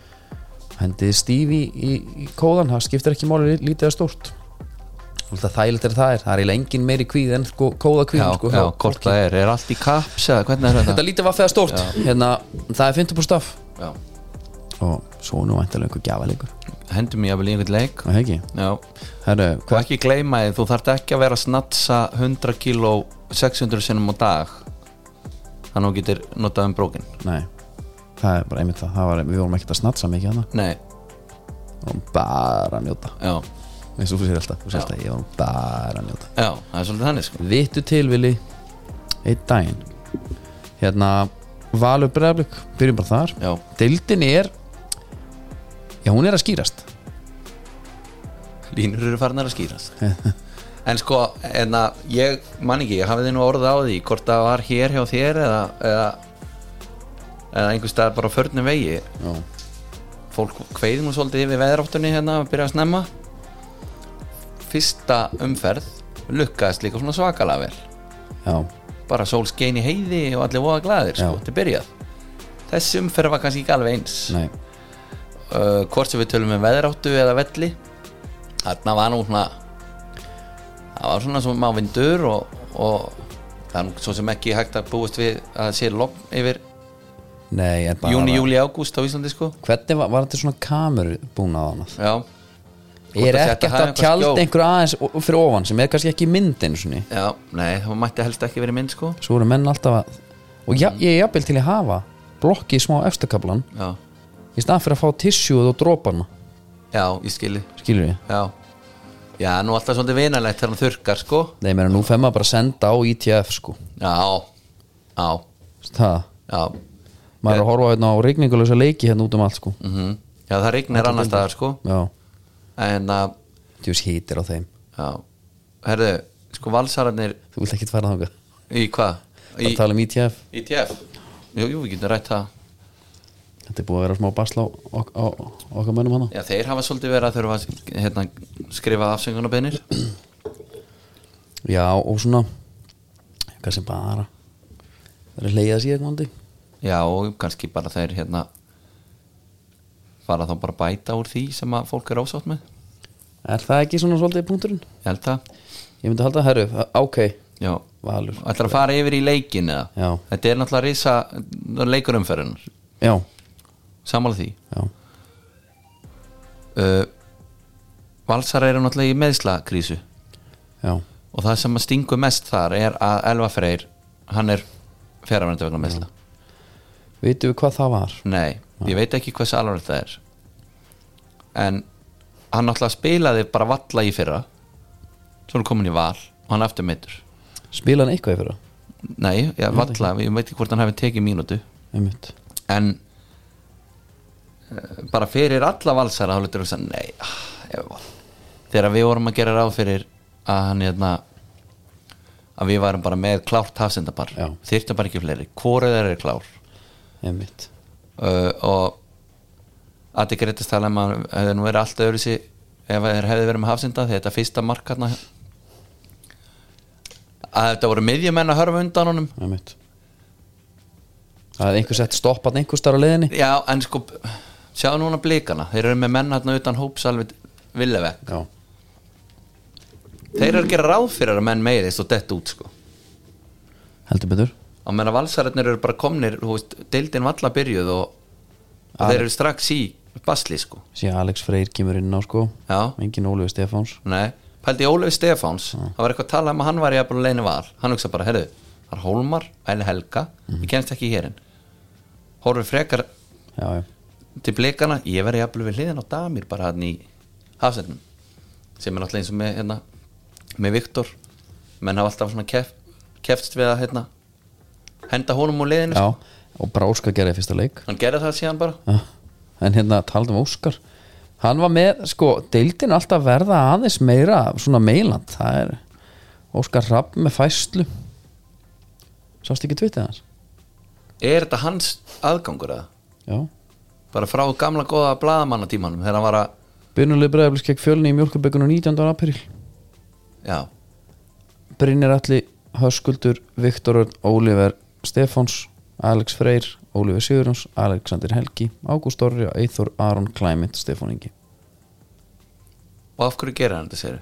[SPEAKER 1] hendið Steve í, í, í kóðan, það skiptir ekki máli lít- lítið að stórt Það þægilegt er það er, það er eiginlega engin meiri kvíð en sko, kóða kvíð
[SPEAKER 2] já,
[SPEAKER 1] sko,
[SPEAKER 2] já
[SPEAKER 1] hjá
[SPEAKER 2] hvort
[SPEAKER 1] fólki.
[SPEAKER 2] það er, er allt í kaps eða hvernig er
[SPEAKER 1] Þetta
[SPEAKER 2] þetta
[SPEAKER 1] lítið var feða stórt hérna, Það er 50% af
[SPEAKER 2] já,
[SPEAKER 1] og svo nú væntalega einhver gjafalegur
[SPEAKER 2] hendum ég að vilja einhvern leik
[SPEAKER 1] Það hegi,
[SPEAKER 2] já,
[SPEAKER 1] herru,
[SPEAKER 2] og
[SPEAKER 1] hvað
[SPEAKER 2] ekki gleyma þið, þú þarft ekki að vera að snatsa 100 kíló 600 sinnum á dag þannig að þú getur notað um brókin
[SPEAKER 1] Nei, það er bara einmitt það, það var, Við vorum ekkert að snatsa mikið hana
[SPEAKER 2] nei,
[SPEAKER 1] Við vorum bara að njóta
[SPEAKER 2] já,
[SPEAKER 1] eins og þú sér alltaf, þú sér alltaf, ég vorum bara að njóta
[SPEAKER 2] já, það er svolítið þannig sko
[SPEAKER 1] Vittu tilvili Eitt daginn Hérna, Valur Breiðablík Byrjum bara þar
[SPEAKER 2] já,
[SPEAKER 1] Deildin er Já, hún er að skýrast
[SPEAKER 2] línur eru farnar að skýrast en sko, en að ég man ekki, ég hafið þið nú orðið á því hvort það var hér hjá þér eða eða, eða einhvers staðar bara á förnum vegi
[SPEAKER 1] Já,
[SPEAKER 2] fólk kveið nú svolítið yfir veðráttunni hérna að byrja að snemma fyrsta umferð lukkaðist líka svona svakalega vel
[SPEAKER 1] já,
[SPEAKER 2] bara sól skein í heiði og allir voða glæðir sko,
[SPEAKER 1] Já.
[SPEAKER 2] til byrjað þessi umferð var kannski ekki alveg eins
[SPEAKER 1] nei
[SPEAKER 2] uh, hvort sem við tölum um veðráttu eða velli þarna var nú svona það var svona svona má vindur og, og það er nú svo sem ekki hægt að búast við að sé logn yfir
[SPEAKER 1] Nei, en bara
[SPEAKER 2] júni, júli, ágúst á Íslandi sko
[SPEAKER 1] Hvernig var, var þetta svona kameru búin að annað?
[SPEAKER 2] já,
[SPEAKER 1] Er ekkert
[SPEAKER 2] þetta sé hægt að hafa
[SPEAKER 1] að
[SPEAKER 2] eitthvað
[SPEAKER 1] tjald
[SPEAKER 2] skjól?
[SPEAKER 1] einhver aðeins o- fyrir ofan sem er kannski ekki í myndin svona.
[SPEAKER 2] já, nei, það mætti helst ekki verið mynd sko
[SPEAKER 1] Svo eru menn alltaf að Og ja, ég er jafnvel til að hafa blokki í smá efstakablan
[SPEAKER 2] já,
[SPEAKER 1] í stað fyrir að fá tissjúð og dropana
[SPEAKER 2] já, ég skili
[SPEAKER 1] skilur ég
[SPEAKER 2] já, já, nú alltaf svolítið vinalegt þegar hann þurrkar sko
[SPEAKER 1] Nei, mér nú fer maður bara að senda á ITF sko
[SPEAKER 2] já, já,
[SPEAKER 1] það,
[SPEAKER 2] já
[SPEAKER 1] maður er að horfa hérna á rigningulegsa leiki hérna út um allt sko
[SPEAKER 2] mm já, það rignir annars staðar sko
[SPEAKER 1] já,
[SPEAKER 2] en að,
[SPEAKER 1] djús hýtir á þeim
[SPEAKER 2] já herðu, sko valsararnir
[SPEAKER 1] þú vilt ekki fara þangað,
[SPEAKER 2] Í hvað?
[SPEAKER 1] bara
[SPEAKER 2] Í,
[SPEAKER 1] tala um ITF
[SPEAKER 2] í TF? Jú, jú, við getum rætt það
[SPEAKER 1] þetta er búið að vera smá basla á, á, á okkar mönnum hana
[SPEAKER 2] Já, þeir hafa svolítið verið að þurfa að hérna, skrifa afsöngunarbeinir
[SPEAKER 1] já, og svona kannski bara verið að leiða sér eitthvað
[SPEAKER 2] Já, og kannski bara þeir hérna fara þá bara að bæta úr því sem að fólk er ósátt með
[SPEAKER 1] er það ekki svona svolítið punkturinn?
[SPEAKER 2] Ég held það,
[SPEAKER 1] ég myndi halda, herru, ok
[SPEAKER 2] já
[SPEAKER 1] Valur,
[SPEAKER 2] Ætlar að fara yfir í leikin eða?
[SPEAKER 1] Já.
[SPEAKER 2] Þetta er náttúrulega risa leikurumferðin
[SPEAKER 1] já,
[SPEAKER 2] Samála því
[SPEAKER 1] já
[SPEAKER 2] uh, Valsar eru náttúrulega í meðslakrísu
[SPEAKER 1] já,
[SPEAKER 2] og það sem að stingu mest þar er að Elva Freyr, hann er fjaraverandi vegna meðsla
[SPEAKER 1] vitum við hvað það var
[SPEAKER 2] Nei, ég veit ekki hversu alvarlegt það er en hann náttúrulega spilaði bara valla í fyrra svo er hann komin í val og hann er aftur meittur
[SPEAKER 1] spila hann eitthvað í fyrra,
[SPEAKER 2] Nei, já, valla, ég veit ekki hvort hann hefði tekið mínútu
[SPEAKER 1] einmitt
[SPEAKER 2] en eh, bara fyrir alla valsara þá lítur þú að nei, ah, ef að- þegar við vorum að gera ráð fyrir að hann hérna að við varum bara með klárt hafsendapar
[SPEAKER 1] Já.
[SPEAKER 2] þyrftum bara ekki fleiri, hvorið þeir eru klár
[SPEAKER 1] einmitt,
[SPEAKER 2] uh, og að þið greitist tala um að hefði nú verið allt öðru sér ef þeir hefði verið með hafsenda því þetta fyrsta mark hérna að þetta voru miðjumenn að hörfa undan honum
[SPEAKER 1] einmitt það er einhver sett stoppað einhver starf á leiðinni
[SPEAKER 2] Já, en sko, sjáðu núna blíkana Þeir eru með menn hérna utan hópsalvit Villevek,
[SPEAKER 1] já,
[SPEAKER 2] þeir eru að gera ráð fyrir að menn meiðist og dett út sko
[SPEAKER 1] heldur betur
[SPEAKER 2] Á meðan að valsararnir eru bara komnir, þú veist, deildin valla byrjuð og, og
[SPEAKER 1] Aðeim.
[SPEAKER 2] þeir eru strax í basli sko
[SPEAKER 1] síðan Alex Freyr kemur inn á sko
[SPEAKER 2] Já.
[SPEAKER 1] engin Ólífi Stefáns
[SPEAKER 2] Nei, pældi í Ólöf Stefáns það var eitthvað að tala um að hann var í að búin leinu val hann hugsa bara, heyrðu, það er Hólmar Æli Helga, ég kemst ekki í hérinn Horfir frekar
[SPEAKER 1] já, já,
[SPEAKER 2] til blikana, ég verði jafnvel við hliðin á damir bara hann í hafsendum sem er náttúrulega eins og með hérna, með Viktor menn hafa alltaf svona kef, kefst við að hérna, henda honum úr liðinu
[SPEAKER 1] já og bara Óskar gerði fyrsta leik
[SPEAKER 2] hann gerði það síðan bara
[SPEAKER 1] Já. en hérna talaðum Óskar hann var með, sko, deildin er alltaf að verða aðeins meira svona meiland það er Óskar Rapp með fæslu sást ekki tvitið hans
[SPEAKER 2] er þetta hans aðgangur að
[SPEAKER 1] já,
[SPEAKER 2] bara frá gamla góða blaðamanna þegar hann var að,
[SPEAKER 1] byrnuleg bregðarblísk gegn fjölni í mjölkabökunum 19. april
[SPEAKER 2] já,
[SPEAKER 1] Brynjar Alli, Höskuldur, Viktor Örn, Oliver Stefáns Alex Freyr, Oliver Sigurjóns Alexander Helgi, Ágúst Orri og Eithor Aron Klæmint, Stefán Ingi
[SPEAKER 2] og af hverju gerir hann þetta sér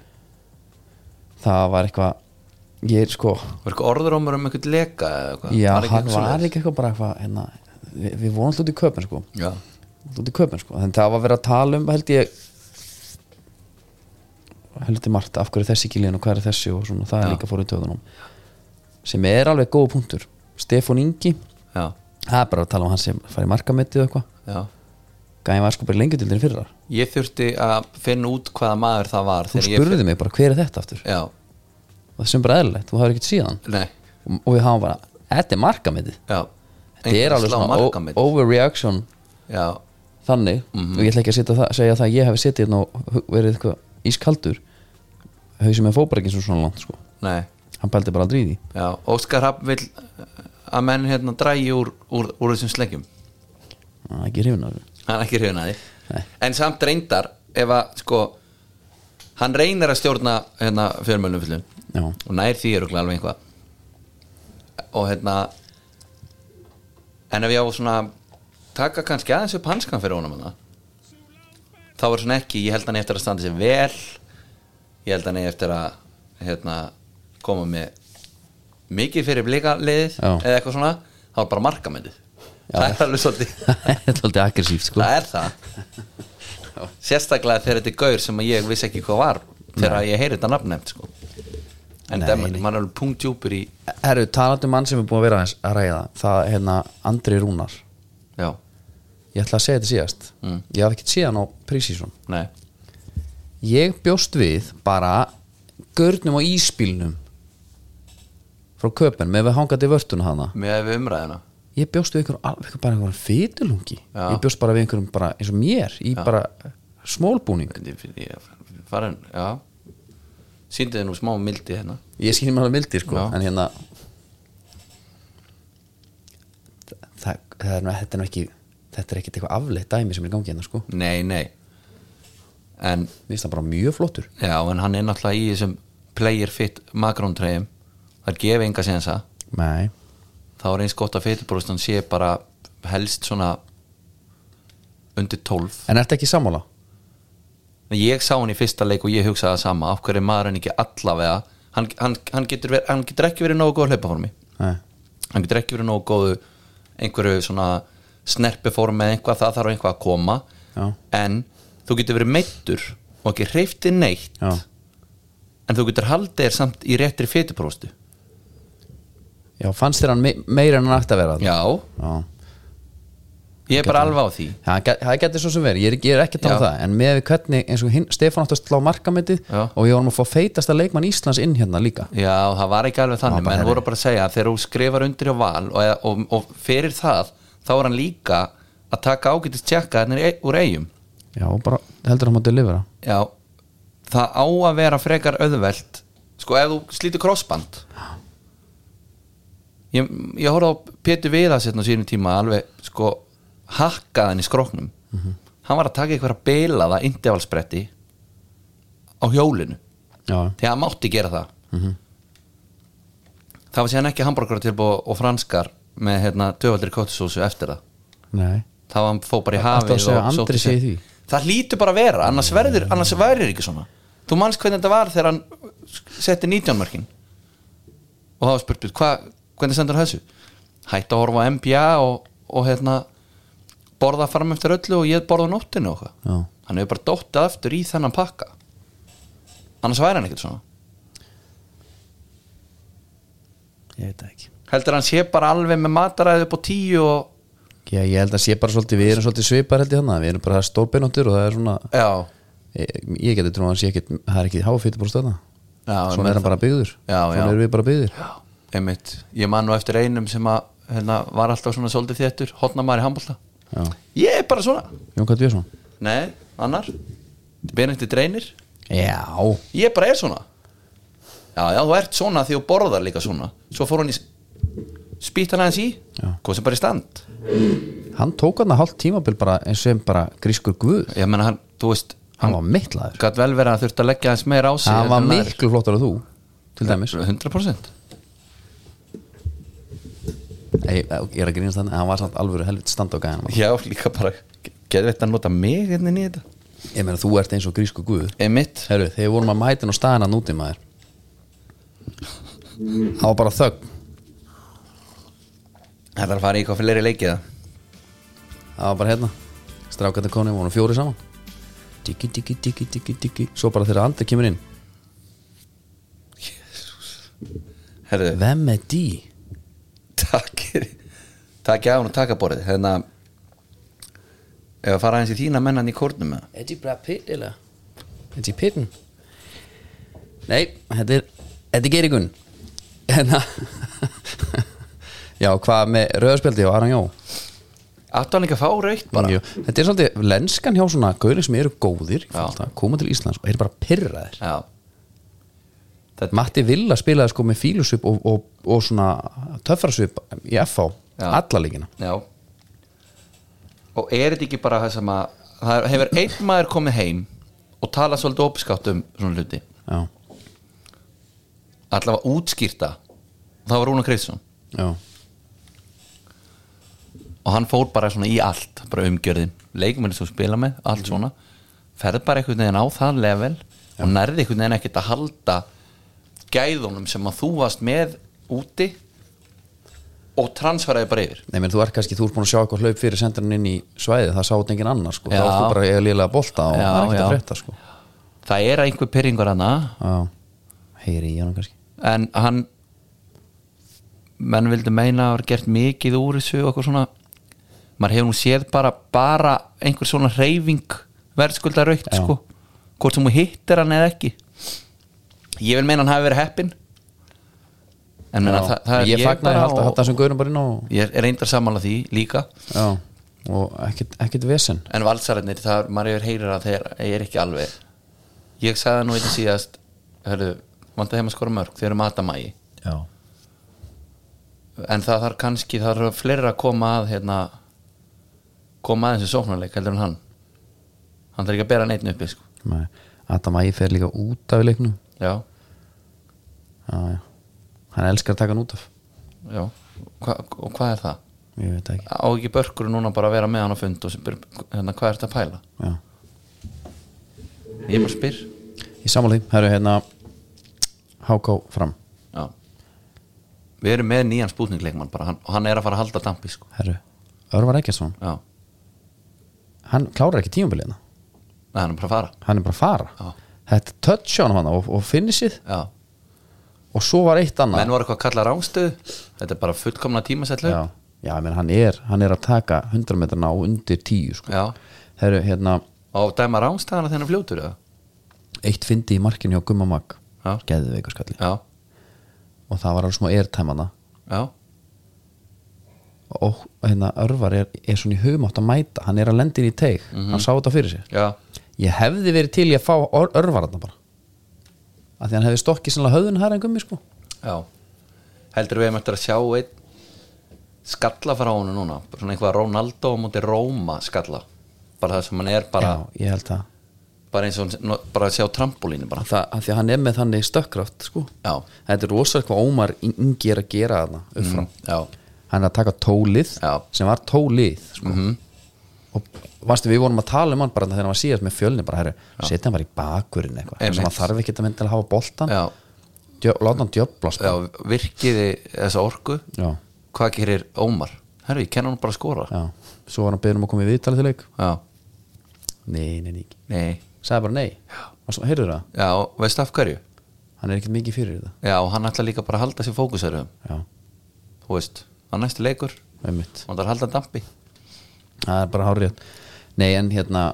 [SPEAKER 1] það var eitthvað ég er sko,
[SPEAKER 2] var eitthvað orðurómur um eitthvað leka eða eitthvað
[SPEAKER 1] já,
[SPEAKER 2] ekki
[SPEAKER 1] hann
[SPEAKER 2] eitthvað
[SPEAKER 1] var
[SPEAKER 2] svoleiðis?
[SPEAKER 1] ekki eitthvað bara eitthvað hérna, við, við vorum alltaf út í köpun sko
[SPEAKER 2] já,
[SPEAKER 1] alltaf út í köpun sko, þannig það var verið að tala um held ég heldur margt, af hverju er þessi ekki liðin og hvað er þessi og svona, það er
[SPEAKER 2] Já.
[SPEAKER 1] líka fórið töðunum sem er alveg góð punktur Stefán Ingi,
[SPEAKER 2] já,
[SPEAKER 1] það er bara að tala um hann sem farið markamettið og eitthvað
[SPEAKER 2] já
[SPEAKER 1] gæði var sko bara lengi til þinn fyrrar
[SPEAKER 2] ég þurfti að finna út hvaða maður það var
[SPEAKER 1] þú
[SPEAKER 2] þegar ég-
[SPEAKER 1] spurði mig bara hver er þetta aftur
[SPEAKER 2] já,
[SPEAKER 1] það sem bara eðlilegt, þú hafði ekkert síðan
[SPEAKER 2] nei,
[SPEAKER 1] og, og við hafa bara, þetta er markamettið
[SPEAKER 2] já
[SPEAKER 1] þetta er alveg svona
[SPEAKER 2] markamið
[SPEAKER 1] o- overreaction
[SPEAKER 2] já,
[SPEAKER 1] þannig og ég ætla ekki að setja það, segja það að ég hafi setið hérna og hu- verið eitthvað ískaldur hausum með fóbrekkin svo svona langt sko.
[SPEAKER 2] nei,
[SPEAKER 1] hann pældi bara aldrei í því
[SPEAKER 2] já Óskar Rapp vil að menn hérna drægi úr, úr, úr þessum sleggjum
[SPEAKER 1] hann er ekki hrifin af því
[SPEAKER 2] hann er ekki hrifin að því
[SPEAKER 1] Nei.
[SPEAKER 2] en samt reyndar ef að sko hann reynir að stjórna hérna fjörmjölum fyllum
[SPEAKER 1] já,
[SPEAKER 2] og nær því eru alveg einhvað og hérna en ef ég á svona taka kannski aðeins upp hanskan fyrir honum hana, þá er svona ekki ég held hann eigi eftir að standa sér vel ég held hann eigi eftir að hérna, koma með mikið fyrir blíkaliðið
[SPEAKER 1] Já.
[SPEAKER 2] eða eitthvað svona, þá er bara markamöndið
[SPEAKER 1] Já.
[SPEAKER 2] það er alveg svolítið
[SPEAKER 1] þetta er aldrei aggressíft sko.
[SPEAKER 2] það er það sérstaklega þegar þetta er gaur sem að ég vissi ekki hvað var þegar ég heyri þetta nafn nefnt sko. en
[SPEAKER 1] Nei,
[SPEAKER 2] það
[SPEAKER 1] nei.
[SPEAKER 2] mann er alveg punktjúpur í
[SPEAKER 1] herru, talandi um mann sem er búin að vera aðeins að ræða það er hérna Andri Rúnar
[SPEAKER 2] já,
[SPEAKER 1] ég ætla að segja þetta síðast
[SPEAKER 2] Mm.
[SPEAKER 1] ég hafði ekkert síðan á prísísum
[SPEAKER 2] nei,
[SPEAKER 1] ég bjóst við bara görnum á íspílnum frá köpen með við hangandi vörtuna hana
[SPEAKER 2] með við umræðina
[SPEAKER 1] ég bjóst við einhverjum, al- einhverjum bara einhverjum fytulungi
[SPEAKER 2] Já.
[SPEAKER 1] ég bjóst bara við einhverjum bara eins og mér í bara smólbúning
[SPEAKER 2] Ég- ég- ég- farin, já síndi þið nú smá mildi hérna
[SPEAKER 1] ég skýr mér alveg mildi sko
[SPEAKER 2] Já.
[SPEAKER 1] en hérna það, það er, nú- þetta er nú ekki þetta er ekkert eitthvað afleitt dæmi sem er í gangi hérna sko
[SPEAKER 2] nei, nei en,
[SPEAKER 1] mér finnst það bara mjög flottur
[SPEAKER 2] já, en hann er náttúrulega í þessum player fit makróntreyjum það gefa enga sénsa
[SPEAKER 1] nei,
[SPEAKER 2] þá er eins gott að fyrirbrústan sé bara helst svona undir 12
[SPEAKER 1] en ertu ekki sammála?
[SPEAKER 2] En ég sá hann í fyrsta leik og ég hugsaði það sama af hverju er maður hann ekki allavega hann, hann, hann, getur ver, hann getur ekki verið nógu góð hlaupaformi
[SPEAKER 1] nei,
[SPEAKER 2] hann getur ekki verið nógu góðu einhverju svona snerpiformi eða einhvað, það þarf einhvað að koma
[SPEAKER 1] Já.
[SPEAKER 2] en þú getur verið meittur og ekki hreyfti neitt
[SPEAKER 1] já,
[SPEAKER 2] en þú getur haldið þér samt í réttri fitupróstu
[SPEAKER 1] já fannst þér hann me meira en hann ætti að vera þarna?
[SPEAKER 2] já,
[SPEAKER 1] já.
[SPEAKER 2] ég er bara alveg á því
[SPEAKER 1] Já, Það gæ- það getur svo sem verið, ég er, ekki- ég er ekki að tala um
[SPEAKER 2] Já.
[SPEAKER 1] það En með við hvernig, eins og hinn, Stefán átti að slá markametið
[SPEAKER 2] Já.
[SPEAKER 1] Og ég var um að fá feitasta leikmann Íslands inn hérna líka
[SPEAKER 2] já, það var ekki alveg þannig
[SPEAKER 1] bara
[SPEAKER 2] menn
[SPEAKER 1] herri.
[SPEAKER 2] voru bara að segja að þegar þú skrifar undir á val og, og, og fyrir það þá er hann líka að taka ágætis tjekka þarna e-, úr eigum
[SPEAKER 1] Já, og bara heldur hann að delivera
[SPEAKER 2] Já, það á að vera frekar auðvelt Sko, ef þú slítur krossband Ég, ég horfði á Pétur Viðas hérna á sínum tíma alveg, sko, hakkaðan í skroknum Hann var að taka eitthvað að beila það intervalspretti á hjólinu
[SPEAKER 1] Já, Mhm.
[SPEAKER 2] þegar hann mátti gera það Það var síðan ekki hambúrgar tilbúð og franskar með hérna töfaldri kottisósu eftir það
[SPEAKER 1] nei
[SPEAKER 2] Það var hann fó bara í
[SPEAKER 1] Ertu
[SPEAKER 2] hafið
[SPEAKER 1] að segja
[SPEAKER 2] og
[SPEAKER 1] að
[SPEAKER 2] sótti
[SPEAKER 1] Andri sé
[SPEAKER 2] sér-
[SPEAKER 1] í því?
[SPEAKER 2] Það lítur bara að vera, annars verður annars verður ekki svona Þú manns hvernig þetta var þegar hann setti 19 mörkin og það var spurt "Bíddu, hvað, hvernig sendur hann þessu? Hætti að horfa á NBA og, og hérna borða fram eftir öllu og ég borða á nóttinu og hvað
[SPEAKER 1] Já.
[SPEAKER 2] Hann hefur bara dóttað aftur í þennan pakka annars væri hann ekkert svona
[SPEAKER 1] Ég veit það ekki
[SPEAKER 2] Heldur hann sé bara alveg með mataræði upp á tíu og
[SPEAKER 1] Já, ég held að sé bara svolítið, við erum svolítið svipar held ég þannig Við erum bara stórbeinóttir og það er svona
[SPEAKER 2] Já,
[SPEAKER 1] Ég, ég geti trúið að hann sé ekkit, það er ekki háfýtt búið stöðna
[SPEAKER 2] já ég
[SPEAKER 1] Svona
[SPEAKER 2] meina
[SPEAKER 1] er hann bara byggður
[SPEAKER 2] Já, já.
[SPEAKER 1] Svona erum við bara byggður
[SPEAKER 2] Já, einmitt Ég man nú eftir einum sem að hérna, var alltaf svona svolítið þéttur Hotna maður í handbólta
[SPEAKER 1] Já,
[SPEAKER 2] Ég er bara svona
[SPEAKER 1] Jón Kvætt Björnsson
[SPEAKER 2] Nei, annar Benedikti dreinir
[SPEAKER 1] Já,
[SPEAKER 2] Ég bara er svona Já, já, þú ert svona því þú borðar líka svona Svo fór hann í spýtt hann aðeins í
[SPEAKER 1] Já.
[SPEAKER 2] Hvað sem bara í stand
[SPEAKER 1] hann tók hann að hálft tímabil bara eins og bara grískur guð
[SPEAKER 2] Ég menna hann, þú veist
[SPEAKER 1] Hann var mittlaður
[SPEAKER 2] Gat vel verið að hann þurfti að leggja aðeins meira á sig
[SPEAKER 1] Hann var
[SPEAKER 2] en aðrir.
[SPEAKER 1] miklu flottar að þú Til dæmis
[SPEAKER 2] 100%
[SPEAKER 1] Ég, ég er að grínast þannig, en hann var samt alvöru helvit standa á gæðan
[SPEAKER 2] Já, líka bara Geðveitt að nota mig hérna inn í þetta
[SPEAKER 1] Ég meina, þú ert eins og grísku guð
[SPEAKER 2] Einmitt
[SPEAKER 1] Herru, þegar við vorum að mæta hann og staðan að núti maður Það var bara þögn
[SPEAKER 2] Þetta er að fara í eitthvað fleiri leikiða
[SPEAKER 1] Það var bara hérna Strákandi koni, vorum fjóri saman Diggi, diggi, diggi, diggi, diggi Svo bara þegar Andri kemur inn
[SPEAKER 2] Herðu
[SPEAKER 1] Hvem er dí?
[SPEAKER 2] takk takk á hún og taka borðið hérna ef að fara eins í þína mennan í kórnum með
[SPEAKER 1] Eddie Brad Pitt, eða? Eddie Pittin? Nei, þetta er Þetta er Geirikun Hérna Já, hvað með rauðspjaldi og Aran Jó?
[SPEAKER 2] áttu hann ekki að fá raukt bara
[SPEAKER 1] Jú, þetta er svolítið lenskan hjá svona gauðir sem eru góðir í
[SPEAKER 2] Já.
[SPEAKER 1] fótbolta, koma til Íslands og eru bara pyrraðir
[SPEAKER 2] já
[SPEAKER 1] Matti Villa spilaði sko með fílusup og, og, og svona töffrasup í FH,
[SPEAKER 2] Já.
[SPEAKER 1] alla líkina
[SPEAKER 2] já og er þetta ekki bara það sem að það hefur einn maður komið heim og talað svolítið opiskátt um svona hluti
[SPEAKER 1] Já,
[SPEAKER 2] allavega útskýrta það var Rúna Kristjón
[SPEAKER 1] já,
[SPEAKER 2] og hann fór bara svona í allt bara umgjörðin, leikmenni sem þú spila með allt svona, ferð bara einhvern veginn á það level og nærði einhvern veginn ekkert að halda gæðunum sem að þú varst með úti og transferaði bara yfir
[SPEAKER 1] nei menn þú er kannski þú ert búin að sjá eitthvað hlaup fyrir sendarinn inn í svæði það sátt engin annar sko,
[SPEAKER 2] Já.
[SPEAKER 1] þá varst þú bara að eiga lélega bolta og
[SPEAKER 2] Já,
[SPEAKER 1] það er ekkert
[SPEAKER 2] já.
[SPEAKER 1] að frétta sko
[SPEAKER 2] það er einhver pyrringur hana
[SPEAKER 1] Já, heyri í hann kannski
[SPEAKER 2] en hann menn vildi meina að hafa gert mikið úr þessu og eitthvað svona maður hefur nú séð bara, bara einhver svona reyfing verðskulda raukt
[SPEAKER 1] Já.
[SPEAKER 2] sko, hvort sem hún hittir hann eða ekki ég vil meina hann hafi verið heppin en meina,
[SPEAKER 1] Já,
[SPEAKER 2] það, það er
[SPEAKER 1] Ég fagnaði að halda þessum gauðurum bara inn á
[SPEAKER 2] ég er reyndar sammála því líka
[SPEAKER 1] Já, og ekkert, ekkert vesen
[SPEAKER 2] en valsararnir, það maður hefur heyrir að þeir er ekki alveg ég sagði nú eitthvað síðast hörðu, vantar heim að skora mörg, þeir eru matamægi
[SPEAKER 1] Já,
[SPEAKER 2] en það þarf kannski það þarf fleiri að koma að hérna, koma að þessu sóknarleik heldur en hann hann þarf ekki að bera neitt uppi sko.
[SPEAKER 1] nei Adam Ægir fer líka út af í leiknum
[SPEAKER 2] já,
[SPEAKER 1] já, já. hann elskar að taka hann út af
[SPEAKER 2] já Hva, og hvað er það?
[SPEAKER 1] ég veit það ekki
[SPEAKER 2] á ekki börkur núna bara að vera með hann á fund og sem spyr, hérna, hvað er þetta að pæla?
[SPEAKER 1] já.
[SPEAKER 2] ég bara spyr
[SPEAKER 1] í sammáli, það eru hérna HK fram
[SPEAKER 2] já. við erum með nýjan spútningleikmann bara, hann, og hann er að fara að halda dampi sko.
[SPEAKER 1] Herru, Örvar Ekkjarsson,
[SPEAKER 2] já,
[SPEAKER 1] hann klárar ekki tímabilið hérna
[SPEAKER 2] Nei, hann er bara að fara
[SPEAKER 1] hann er bara að fara
[SPEAKER 2] Já.
[SPEAKER 1] þetta touch á hann og, og finishið
[SPEAKER 2] Já.
[SPEAKER 1] og svo var eitt annað
[SPEAKER 2] menn var eitthvað að kalla rángstöð þetta er bara fullkomna tímasett
[SPEAKER 1] já,
[SPEAKER 2] lög
[SPEAKER 1] já menn, hann, er, hann er að taka 100 metrana á undir 10 sko.
[SPEAKER 2] Já.
[SPEAKER 1] Heru, hérna,
[SPEAKER 2] og dæma rángstöðana þegar hann er fljótur eða?
[SPEAKER 1] eitt fyndi í markinu hjá Gumma Mag
[SPEAKER 2] Já.
[SPEAKER 1] geðveikurskalli
[SPEAKER 2] já,
[SPEAKER 1] og það var alveg smá airtæmana
[SPEAKER 2] já,
[SPEAKER 1] og hérna örvar er, er svona í hugmátt að mæta hann er að lenda inn í teig, hann sá þetta fyrir sér
[SPEAKER 2] já
[SPEAKER 1] ég hefði verið til í að fá or, örvar þarna bara af því hann hefði stokkið sannlega höfðun hær en Gummi sko
[SPEAKER 2] já heldur við möttum að sjá einn skalla frá honum núna Bara svona einhvað Ronaldo á móti Róma skalla bara það sem hann er bara,
[SPEAKER 1] já, ég held að
[SPEAKER 2] bara eins og hann- no- bara að sjá trampolínu bara
[SPEAKER 1] það, af því að hann er með þannig stökkraft sko
[SPEAKER 2] Já.
[SPEAKER 1] þetta er rosalega hvað Ómar Ingi er að gera þarna upp frá
[SPEAKER 2] já,
[SPEAKER 1] Mhm. hann er að taka tólið
[SPEAKER 2] Já.
[SPEAKER 1] sem var tólið sko.
[SPEAKER 2] Mhm.
[SPEAKER 1] og varstu við vorum að tala um hann bara þegar hann var síðast með fjölni bara herri, setja hann bara í bakurinn eitthvað
[SPEAKER 2] Einmitt.
[SPEAKER 1] sem hann þarf ekki að mynda að hafa boltan
[SPEAKER 2] já,
[SPEAKER 1] Djö, láta hann djöfla
[SPEAKER 2] já
[SPEAKER 1] sko.
[SPEAKER 2] virkiði þessa orku
[SPEAKER 1] já.
[SPEAKER 2] hvað gerir Ómar? herru, ég kenna hann bara að skora
[SPEAKER 1] Já. svo var hann beðin um að koma í viðtalið til leik
[SPEAKER 2] já.
[SPEAKER 1] nei, nei, nei, ekki.
[SPEAKER 2] nei,
[SPEAKER 1] sagði bara nei og svo, heyrðu það,
[SPEAKER 2] já, veistu af hverju?
[SPEAKER 1] hann er ekkert mikið fyrir þetta
[SPEAKER 2] Já, og hann ætla líka bara að halda sér fókusörum
[SPEAKER 1] já,
[SPEAKER 2] Þú veist, hann næstu leikur
[SPEAKER 1] einmitt
[SPEAKER 2] Hann þarf að halda dampi
[SPEAKER 1] það er bara hárið nei, en hérna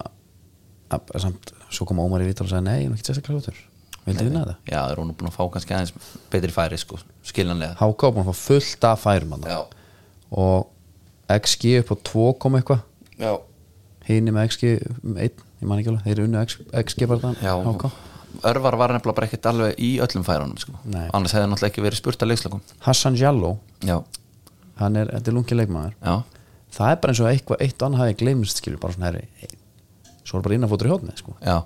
[SPEAKER 1] að, samt, svo kom Ómar í viðtalið og sagði nei, ég er nú ekki sérstaklega hlutur vildi vinna þetta
[SPEAKER 2] Já, er hún búin að fá kannski aðeins betri færi sko, skiljanlega
[SPEAKER 1] Háka var búin að fá fullt af færum hann
[SPEAKER 2] Já,
[SPEAKER 1] og XG upp á 2 kom eitthvað
[SPEAKER 2] já,
[SPEAKER 1] hini með XG 1, ég man ekki alveg þeir eru unnu X- XG bara þann
[SPEAKER 2] já
[SPEAKER 1] Háka
[SPEAKER 2] Örvar var nefnilega bara ekkert alveg í öllum færunum sko.
[SPEAKER 1] Nei.
[SPEAKER 2] Annars hefði náttúrulega ekki verið spurt að leikslökum
[SPEAKER 1] Hassan Jallo,
[SPEAKER 2] Já,
[SPEAKER 1] hann er, þetta er lungi leikmaður
[SPEAKER 2] já,
[SPEAKER 1] það er bara eins og eitthvað eitt og annað hafi gleymst skilur bara svona herri svo er bara innanfótur í hóðni sko
[SPEAKER 2] já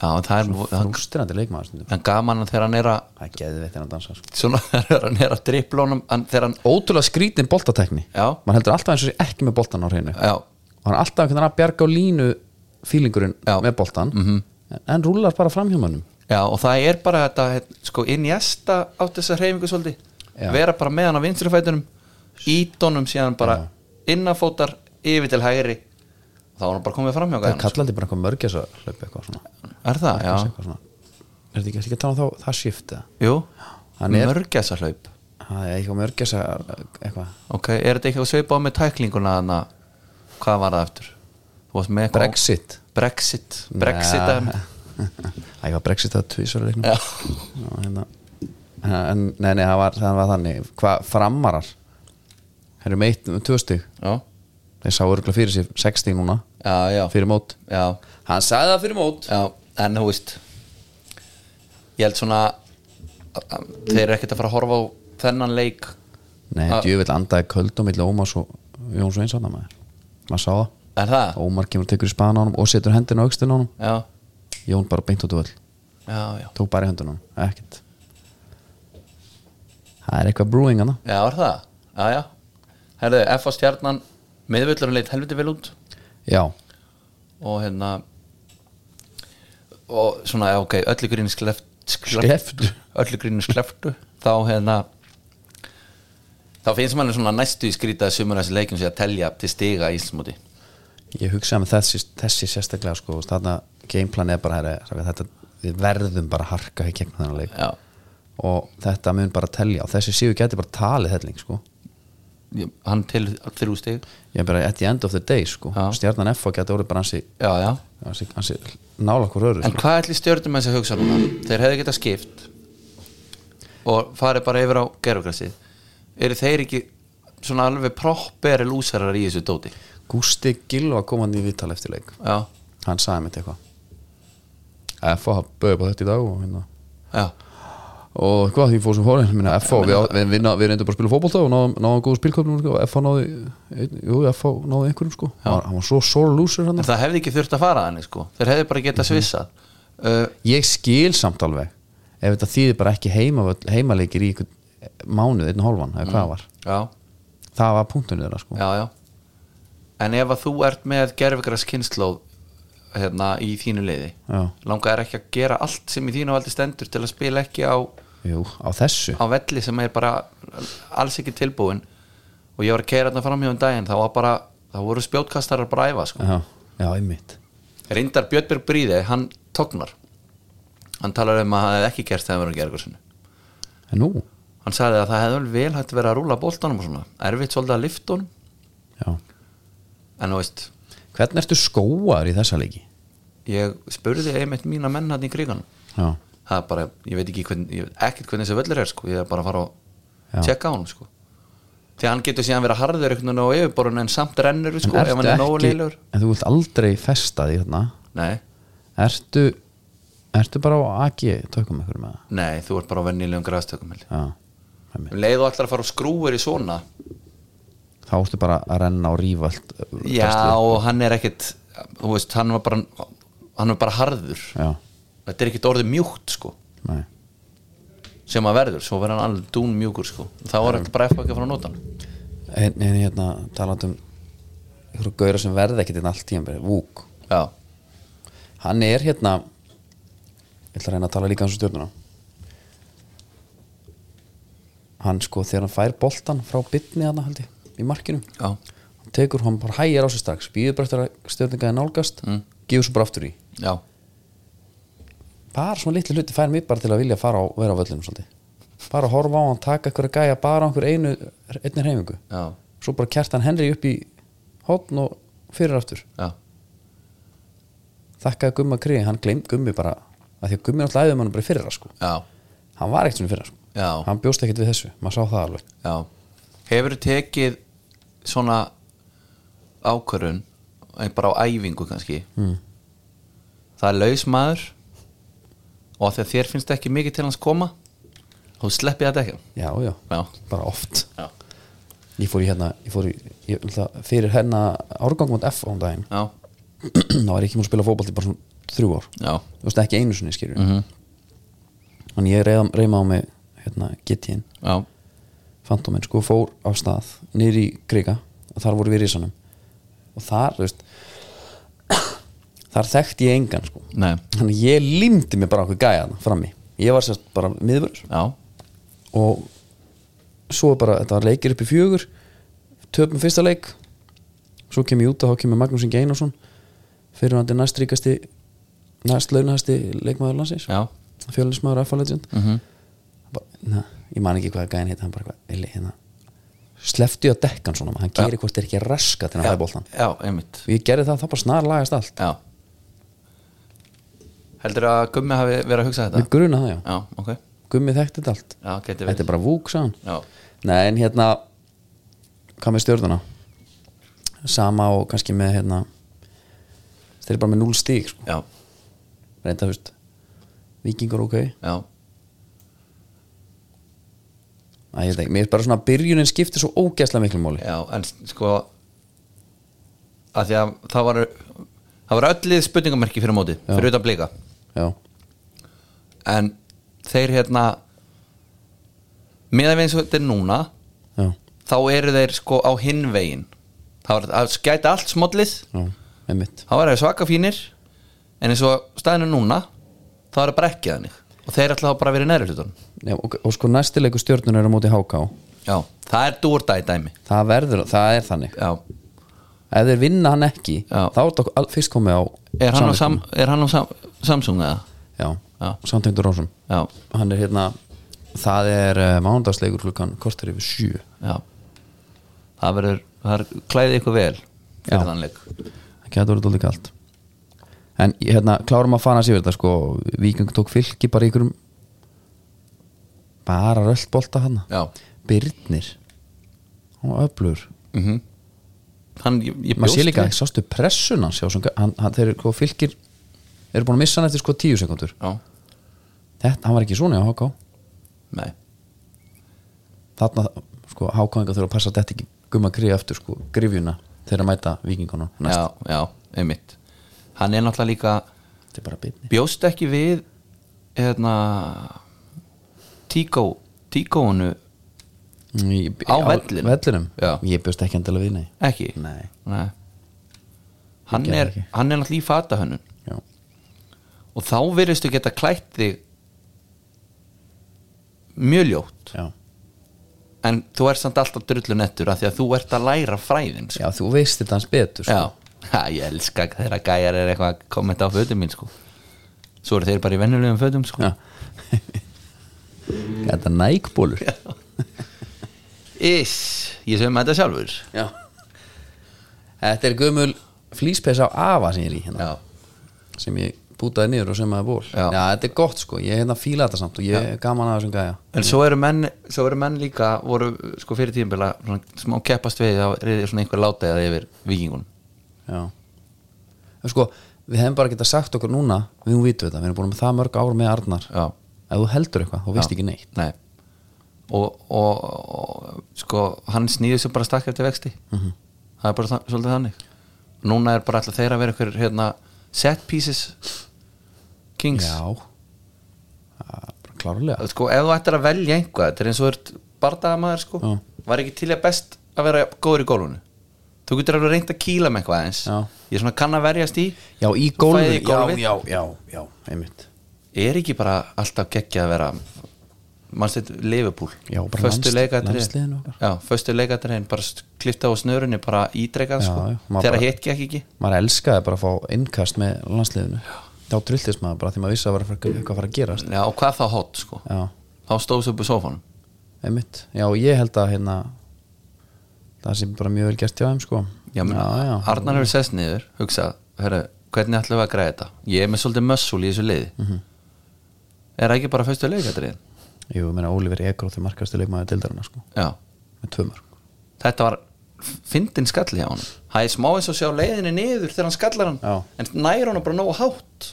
[SPEAKER 2] Já, en það er hann,
[SPEAKER 1] frústirandi leikmaður stundum
[SPEAKER 2] hann gaman að þegar hann er að
[SPEAKER 1] það er geðveitt en að dansa sko
[SPEAKER 2] Svona þegar hann er að dripla honum hann, Þegar hann,
[SPEAKER 1] ótrúlega skrítin boltatekni
[SPEAKER 2] Já.
[SPEAKER 1] mann heldur alltaf eins og sé ekki með boltan á hreinu
[SPEAKER 2] já,
[SPEAKER 1] og hann er alltaf einhvern veginn að bjarga á línu fílingurinn
[SPEAKER 2] Já. Mhm.
[SPEAKER 1] með boltan -hmm. en, en rúlar bara framhjómanum
[SPEAKER 2] já Og það er bara þetta, sko, inn í esta Átt þessa hreyfingu svolítið
[SPEAKER 1] Já.
[SPEAKER 2] Vera bara með hann á vinstrifætunum Ídónum síðan bara innanfótar Yfir til hægri Þá var hann bara komið framhjóka
[SPEAKER 1] það kallandi bara eitthvað mörgjasa hlaup eitthvað svona
[SPEAKER 2] Er það?
[SPEAKER 1] Eitthvað
[SPEAKER 2] Já,
[SPEAKER 1] eitthvað svona. er þetta ekki, ertu ekki að tala um þá, það skipta
[SPEAKER 2] jú
[SPEAKER 1] Hann er-
[SPEAKER 2] Mörgjasa hlaup
[SPEAKER 1] það er eitthvað mörgjasa eitthvað
[SPEAKER 2] Ok, er þetta eitthvað svipað með tæklinguna hana? Hvað var það eftir? Þú varst með eitthvað
[SPEAKER 1] Brexit
[SPEAKER 2] Brexit Brexit dæmi.
[SPEAKER 1] það var Brexit að tvísar
[SPEAKER 2] Já.
[SPEAKER 1] hérna. en nei, nei, það var, það var þannig hvað framarar þeir eru meitt um tvö stig
[SPEAKER 2] Já,
[SPEAKER 1] þeir sá örgulega fyrir sér sex stig núna
[SPEAKER 2] já, já,
[SPEAKER 1] fyrir mót
[SPEAKER 2] já,
[SPEAKER 1] hann sagði það fyrir mót
[SPEAKER 2] já En þú veist Ég held svona Þeir eru ekkert að fara að horfa á þennan leik
[SPEAKER 1] nei,
[SPEAKER 2] Ah.
[SPEAKER 1] djövill andaði köld og milli Ómars og Jóns og einsanna maður maður sá það
[SPEAKER 2] Er það?
[SPEAKER 1] Ómar kemur og tekur í spana á honum og setur hendina á aukstinu á honum
[SPEAKER 2] Já,
[SPEAKER 1] Jón bara beint út á völl
[SPEAKER 2] já, já
[SPEAKER 1] tók bara í hendina á honum, ekkert það er eitthvað brewing hana
[SPEAKER 2] Já, er það? Já, já Herðu, F.A. stjarnan Miðvöllurinn leitt helviti vel út
[SPEAKER 1] já,
[SPEAKER 2] og hérna og svona, já, ok, öllu grínu skleft,
[SPEAKER 1] Skleft.
[SPEAKER 2] öllu grínu skleftu þá hérna þá finnst manni svona næstu í skrýta að sumur af þessi leikjum sé að telja til stiga í Íslandsmóti
[SPEAKER 1] ég hugsaði með þessi, þessi sérstaklega sko, og þarna gameplan er bara herri, þetta, við verðum bara að harka í gegnum þennan leik
[SPEAKER 2] já,
[SPEAKER 1] og þetta mun bara telja og þessi síðu geti bara talið helling sko.
[SPEAKER 2] ég- hann til þrjú stig
[SPEAKER 1] ég er bara at the end of the day sko.
[SPEAKER 2] Já.
[SPEAKER 1] stjarnan F geti orðið bara hansi,
[SPEAKER 2] já, já,
[SPEAKER 1] hansi, hansi nála okkur öru
[SPEAKER 2] en
[SPEAKER 1] sko.
[SPEAKER 2] hvað ætli stjörnum þessi að hugsa núna? Þeir hefðu getað skipt og farið bara yfir á gerfugrassið eru þeir ekki svona alveg propperi lúsarar í þessu dóti?
[SPEAKER 1] Gústi Gilva kom hann í viðtal eftir leik
[SPEAKER 2] Já,
[SPEAKER 1] hann sagði mér eitthvað F að bauði bara þetta í dag og hérna
[SPEAKER 2] já,
[SPEAKER 1] og hvað því fór sem fór minna, FH, við, á- við, við, ná- við reyndum bara að spila fótbolta og náðum, náðum góðu spilköpnum sko, og FH náði, einn, jú, FH náði einhverjum sko. hann, var- hann var svo sore loser hann
[SPEAKER 2] En það hefði ekki þurft að fara þannig sko Þeir hefði bara getað svissað uh,
[SPEAKER 1] ég skil samt alveg ef þetta þýðir bara ekki heima, heimaleikir í einhvern mánuð, einn og hálfan eða hvað var,
[SPEAKER 2] Já,
[SPEAKER 1] það var punktunni þeirra sko.
[SPEAKER 2] Uh, já, já En ef að þú ert með gerfikras kynnslóð hérna, í þínu liði
[SPEAKER 1] Já.
[SPEAKER 2] langar ekki að gera allt sem í þínu valdi stendur til að spila ekki á, á
[SPEAKER 1] jú, á þessu
[SPEAKER 2] velli sem er bara alls ekki tilbúin og um ég var að keira þarna framhjóðum daginn þá var bara, þá voru spjótkastarar bara að æfa sko
[SPEAKER 1] já, já, einmitt
[SPEAKER 2] reyndar Björnberg Bríði, hann tóknar hann talar um að það hefði ekki gerst þegar verið að gera eitthvað
[SPEAKER 1] en nú,
[SPEAKER 2] hann sagði að það hefði vel vel hægt verið að rúla boltanum og svona, erfitt svolítið að lifta honum
[SPEAKER 1] já
[SPEAKER 2] en þú veist,
[SPEAKER 1] hvernig ertu skóar í þessa leiki?
[SPEAKER 2] ég spurði einmitt mína menn hann í kriganum
[SPEAKER 1] já,
[SPEAKER 2] það er bara, ég veit ekki hvern, ég, ekkert hvernig þessi völlur er sko, ég er bara að fara
[SPEAKER 1] Já.
[SPEAKER 2] og tjekka á hann sko því að hann getur síðan verið harður einhvern veginn á yfirborun en samt rennur sko,
[SPEAKER 1] en
[SPEAKER 2] ef hann
[SPEAKER 1] ertu
[SPEAKER 2] er nógu
[SPEAKER 1] ekki
[SPEAKER 2] leilur
[SPEAKER 1] en þú vilt aldrei festa því þarna
[SPEAKER 2] nei,
[SPEAKER 1] ertu, ertu bara á AG tökum ykkur með það
[SPEAKER 2] nei, þú ert bara á vennilegum græðstökum held ég.
[SPEAKER 1] já, einmitt.
[SPEAKER 2] um leið og allar að fara og skrúir í svona
[SPEAKER 1] þá ertu bara að renna og rífa allt uh,
[SPEAKER 2] já,
[SPEAKER 1] drastlið.
[SPEAKER 2] og hann er ekkert þú veist, hann var bara hann var bara harður
[SPEAKER 1] já,
[SPEAKER 2] þetta er ekkert orðið mjúkt sko
[SPEAKER 1] nei
[SPEAKER 2] sem að verður, svo verður hann alveg dún mjúkur sko þá er þetta bara eftir ekki að fara að nota hann
[SPEAKER 1] en, en hérna talandi um einhverju gauðra sem verða ekkert inn allt tíum Vúk,
[SPEAKER 2] já,
[SPEAKER 1] hann er hérna ég ætla að reyna að tala líka um þessu stjórnuna hann sko þegar hann fær boltan frá bytni hann held ég í markinu
[SPEAKER 2] já,
[SPEAKER 1] hann tekur hann bara hægir á sig strax býður bara eftir að stjórningaði nálgast gefur svo bara aftur í
[SPEAKER 2] já,
[SPEAKER 1] bara svona litli hluti fær mig bara til að vilja fara á vera á völlinu svolítið bara að horfa á hann, taka ykkur að gæja bara á einhver einu einni hreyfingu
[SPEAKER 2] já,
[SPEAKER 1] svo bara kjartan Henry upp í hotn og fyrir aftur
[SPEAKER 2] já.
[SPEAKER 1] þakkaði Gumma Kriði, hann glemt Gummi bara að því að Gummi náttúrulega æði mann bara í fyrra sko
[SPEAKER 2] já.
[SPEAKER 1] hann var ekkert svona í fyrra sko
[SPEAKER 2] Já.
[SPEAKER 1] hann bjóst ekkert við þessu, maður sá það alveg
[SPEAKER 2] Já Hefur tekið svona ákvörun bara á æfingu kannski mm. Það er laus maður og þegar þér finnst ekki mikið til hans koma þú sleppið þetta ekki
[SPEAKER 1] já, já,
[SPEAKER 2] Já.
[SPEAKER 1] bara oft
[SPEAKER 2] Já,
[SPEAKER 1] ég fór í hérna, ég fór í ég, það, fyrir hérna árgangmund F án daginn
[SPEAKER 2] já,
[SPEAKER 1] þá var ég ekki múin að spila fótbolti bara svona þrjú ár
[SPEAKER 2] já,
[SPEAKER 1] þú veist ekki einu sinni skilur mm þannig ég reyða, reyma á mig hérna, GT-in,
[SPEAKER 2] já,
[SPEAKER 1] Fantominn sko, fór af stað niður í Kriga og þar voru við í risanum og þar, þú veist þar þekkti ég engan sko
[SPEAKER 2] nei
[SPEAKER 1] þannig að ég limdi mig bara okkur gæja þarna frammi, ég var sérst bara miðvörður
[SPEAKER 2] Já,
[SPEAKER 1] og svo bara, þetta var leikir upp í fjögur töpum fyrsta leik svo kem ég út og þá kemur Magnús Ingi Einarsson fyrir hann til næst ríkasti næst launahasti leikmaður landsins
[SPEAKER 2] já,
[SPEAKER 1] fjölinsmaður FA Legend
[SPEAKER 2] mm
[SPEAKER 1] bara, na, ég man ekki hvað gæðin heita hann bara hvað, Eli, hérna sleftu ég að dekkan svona, hann gerir hvort er ekki raska til að
[SPEAKER 2] já,
[SPEAKER 1] fæða bóltan
[SPEAKER 2] já, einmitt
[SPEAKER 1] og ég gerði það, það bara snar lagast allt
[SPEAKER 2] Já Heldur að Gummi hafi verið að hugsa
[SPEAKER 1] við
[SPEAKER 2] þetta?
[SPEAKER 1] gruna það já,
[SPEAKER 2] Já, ok
[SPEAKER 1] gummi þekkti þetta allt
[SPEAKER 2] Já, geti
[SPEAKER 1] þetta
[SPEAKER 2] verið
[SPEAKER 1] er bara vúk, sagðan
[SPEAKER 2] Já,
[SPEAKER 1] Nei, en hérna hvað með stjórnuna sama og kannski með hérna þeir eru bara með 0 stík sko.
[SPEAKER 2] já,
[SPEAKER 1] reynda, þú veist vikingur ok
[SPEAKER 2] já,
[SPEAKER 1] Æ, ég veit ekki, mér er bara svona að byrjunin skiptir svo ógæslega miklu máli
[SPEAKER 2] Já, en s- sko að því að það var það var öllið spurningamerki fyrir móti
[SPEAKER 1] Já.
[SPEAKER 2] fyrir utan blika
[SPEAKER 1] já,
[SPEAKER 2] en þeir hérna meðan við eins og þetta er núna
[SPEAKER 1] já,
[SPEAKER 2] þá eru þeir sko á hinn vegin það var að skæta allt smollið
[SPEAKER 1] já, með mitt
[SPEAKER 2] það var að svaka fínir en eins og staðinu núna þá er það bara ekki þannig og þeir ætla þá bara að vera í næri hlutunum
[SPEAKER 1] já, og, og sko næstileiku stjórnuna er á móti háká
[SPEAKER 2] Já, það er dúrda í dæmi
[SPEAKER 1] það verður, það er þannig
[SPEAKER 2] Já,
[SPEAKER 1] ef þeir vinna hann ekki,
[SPEAKER 2] Já.
[SPEAKER 1] þá er þetta al- fyrst komið á
[SPEAKER 2] er hann á, sam,
[SPEAKER 1] samleikum.
[SPEAKER 2] er hann á sam, Samsung eða?
[SPEAKER 1] já,
[SPEAKER 2] Já.
[SPEAKER 1] samtengdur rásum
[SPEAKER 2] Já,
[SPEAKER 1] hann er hérna, það er uh, mánudagsleikur klukkan kortur yfir sjö
[SPEAKER 2] Já Það verður, það er klæðið ykkur vel
[SPEAKER 1] Já.
[SPEAKER 2] fyrir þann leik
[SPEAKER 1] það getur verið dóldi kalt en hérna, klárum að fana sér þetta sko, Víking tók fylki bara í ykkurum bara röldbolta hann
[SPEAKER 2] Já
[SPEAKER 1] Byrnir og öflur
[SPEAKER 2] mm Hann, ég, ég
[SPEAKER 1] maður sé líka,
[SPEAKER 2] við-
[SPEAKER 1] sástu pressun hans hjá þessum gæ- hann, hann, þeir sko, fylkir eru búin að missa hann eftir sko tíu sekundur
[SPEAKER 2] Já,
[SPEAKER 1] þetta, hann var ekki svona hjá Háká
[SPEAKER 2] nei,
[SPEAKER 1] þarna, sko, Hákáinga þurfa að passa að þetta ekki gumma grið eftir sko, grifjuna þegar að mæta Víkinguna næst,
[SPEAKER 2] já, já, einmitt Hann er náttúrulega líka
[SPEAKER 1] þetta er bara byrnir
[SPEAKER 2] bjóst ekki við hérna Tíkó, Tíkónu Á vellinum?
[SPEAKER 1] vellinum.
[SPEAKER 2] Já.
[SPEAKER 1] ég bjóst ekki endilega við, nei,
[SPEAKER 2] ekki
[SPEAKER 1] nei.
[SPEAKER 2] Nei. Hann,
[SPEAKER 1] gerði
[SPEAKER 2] er,
[SPEAKER 1] ekki.
[SPEAKER 2] hann er náttúrulega í fatahönnun
[SPEAKER 1] Já.
[SPEAKER 2] og þá veristu geta klætt þig mjög ljótt
[SPEAKER 1] Já.
[SPEAKER 2] en þú ert samt alltaf drullu nettur af því að þú ert að læra fræðin sko.
[SPEAKER 1] Já, þú veist þetta hans betur sko.
[SPEAKER 2] Já. ha, ég elska þegar gæjar er eitthvað að kommenta á fötum mín sko svo eru þeir bara í vennulegum fötum sko
[SPEAKER 1] Já. Þetta nækbólur
[SPEAKER 2] Iss, ég sögum þetta sjálfur
[SPEAKER 1] Já Þetta er gömul flýspesa á afa sem ég er í hérna
[SPEAKER 2] Já,
[SPEAKER 1] sem ég bútaði niður og sömaði ból
[SPEAKER 2] Já.
[SPEAKER 1] þetta er gott sko, ég hérna fíla þetta samt og ég er gaman að þessum gæja
[SPEAKER 2] en svo eru menn, svo eru menn líka voru sko fyrir tíðinbila smá keppast við þá er svona einhver látaðið yfir vikingunum
[SPEAKER 1] Já En sko, við hefum bara getað sagt okkur núna við hún vitum þetta, við erum búin með það mörg ár með Arnar
[SPEAKER 2] Já.
[SPEAKER 1] ef þú heldur eitthvað, þú veist
[SPEAKER 2] Já.
[SPEAKER 1] ekki neitt
[SPEAKER 2] Nei og, og, og sko hann snýður sem bara stakk eftir vexti
[SPEAKER 1] Mhm.
[SPEAKER 2] það er bara það, svolítið þannig núna er bara alltaf þeir að vera ykkur hérna, set pieces kings
[SPEAKER 1] Já Það er bara klárlega
[SPEAKER 2] sko ef þú ættir að velja einhvað þetta er eins og þú ert bardaðamaður sko
[SPEAKER 1] Já.
[SPEAKER 2] var ekki til að best að vera góður í gólfinu þú getur alveg reynd að kýla með eitthvað eins
[SPEAKER 1] Já.
[SPEAKER 2] ég er svona kann að verjast í
[SPEAKER 1] Já, í
[SPEAKER 2] Svo
[SPEAKER 1] gólfið,
[SPEAKER 2] fæ ég í gólfið.
[SPEAKER 1] Já, já, já, já, einmitt
[SPEAKER 2] er ekki bara alltaf geggja að vera mannstætt lefupúl
[SPEAKER 1] Já, bara
[SPEAKER 2] föstu
[SPEAKER 1] landsli- landsliðinu
[SPEAKER 2] leikadrein
[SPEAKER 1] okkar.
[SPEAKER 2] já, föstu leikadrein bara st- klippta á snörunni bara ídreikað
[SPEAKER 1] Já,
[SPEAKER 2] sko,
[SPEAKER 1] já, maður
[SPEAKER 2] þegar
[SPEAKER 1] bara-
[SPEAKER 2] hitt gekk ekki
[SPEAKER 1] Maður elskaði bara að fá innkast með landsliðinu Þá trilltist maður bara því maður vissi að vera eitthvað að fara að gerast
[SPEAKER 2] já, og hvað þá hot sko
[SPEAKER 1] Já,
[SPEAKER 2] þá stóðs upp í sófanum
[SPEAKER 1] einmitt Já, ég held að hérna það sé bara mjög vel gert hjá þeim sko
[SPEAKER 2] já, menn,
[SPEAKER 1] já,
[SPEAKER 2] Arnar hefur sest niður hugsað, herru, hvernig ætlum við að græða þetta ég er með svolítið mössul í þessu liði er það ekki bara föstu leikadrein
[SPEAKER 1] Jú, ég meina Oliver Ekroth er markastu leikmaður deildarana sko,
[SPEAKER 2] já,
[SPEAKER 1] með tvö mörg
[SPEAKER 2] þetta var f- fyndin skalli á hann það er smá eins og sjá leiðinni niður þegar hann skallar hann
[SPEAKER 1] Já.
[SPEAKER 2] en nær hann bara nógu hátt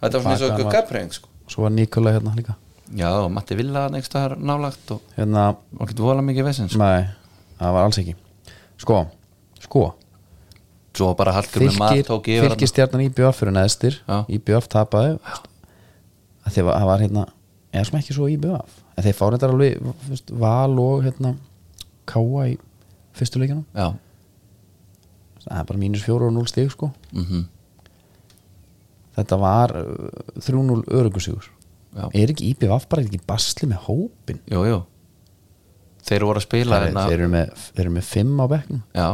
[SPEAKER 2] þetta var svona eins og
[SPEAKER 1] Taka
[SPEAKER 2] ykkur
[SPEAKER 1] hann-
[SPEAKER 2] gafreyðing sko.
[SPEAKER 1] Svo var Nikola hérna líka
[SPEAKER 2] já, og Matti Villa neikst að það er nálagt og
[SPEAKER 1] Hérna,
[SPEAKER 2] hann getur volað mikið vesens sko.
[SPEAKER 1] nei, það var alls ekki Sko, sko
[SPEAKER 2] svo bara halkur með maður
[SPEAKER 1] Fylkir,
[SPEAKER 2] tók yfir
[SPEAKER 1] fylkir
[SPEAKER 2] fylgist...
[SPEAKER 1] stjarnan IBF fyrir neðstir
[SPEAKER 2] Já.
[SPEAKER 1] IBF tapaði að því að það var hérna eða sem ekki svo IBF að þeir fáið þetta alveg þú veist, val og hérna káa í fyrstu leikinu
[SPEAKER 2] já,
[SPEAKER 1] það er bara mínus fjóru og núl stig sko
[SPEAKER 2] mm
[SPEAKER 1] þetta var uh, 3-0 örugusigur
[SPEAKER 2] Já.
[SPEAKER 1] er ekki IBF bara ekki basli með hópin
[SPEAKER 2] jú, jú þeir voru að spila
[SPEAKER 1] þeir,
[SPEAKER 2] hérna en að-
[SPEAKER 1] þeir, eru með, þeir eru með 5 á bekknum
[SPEAKER 2] já,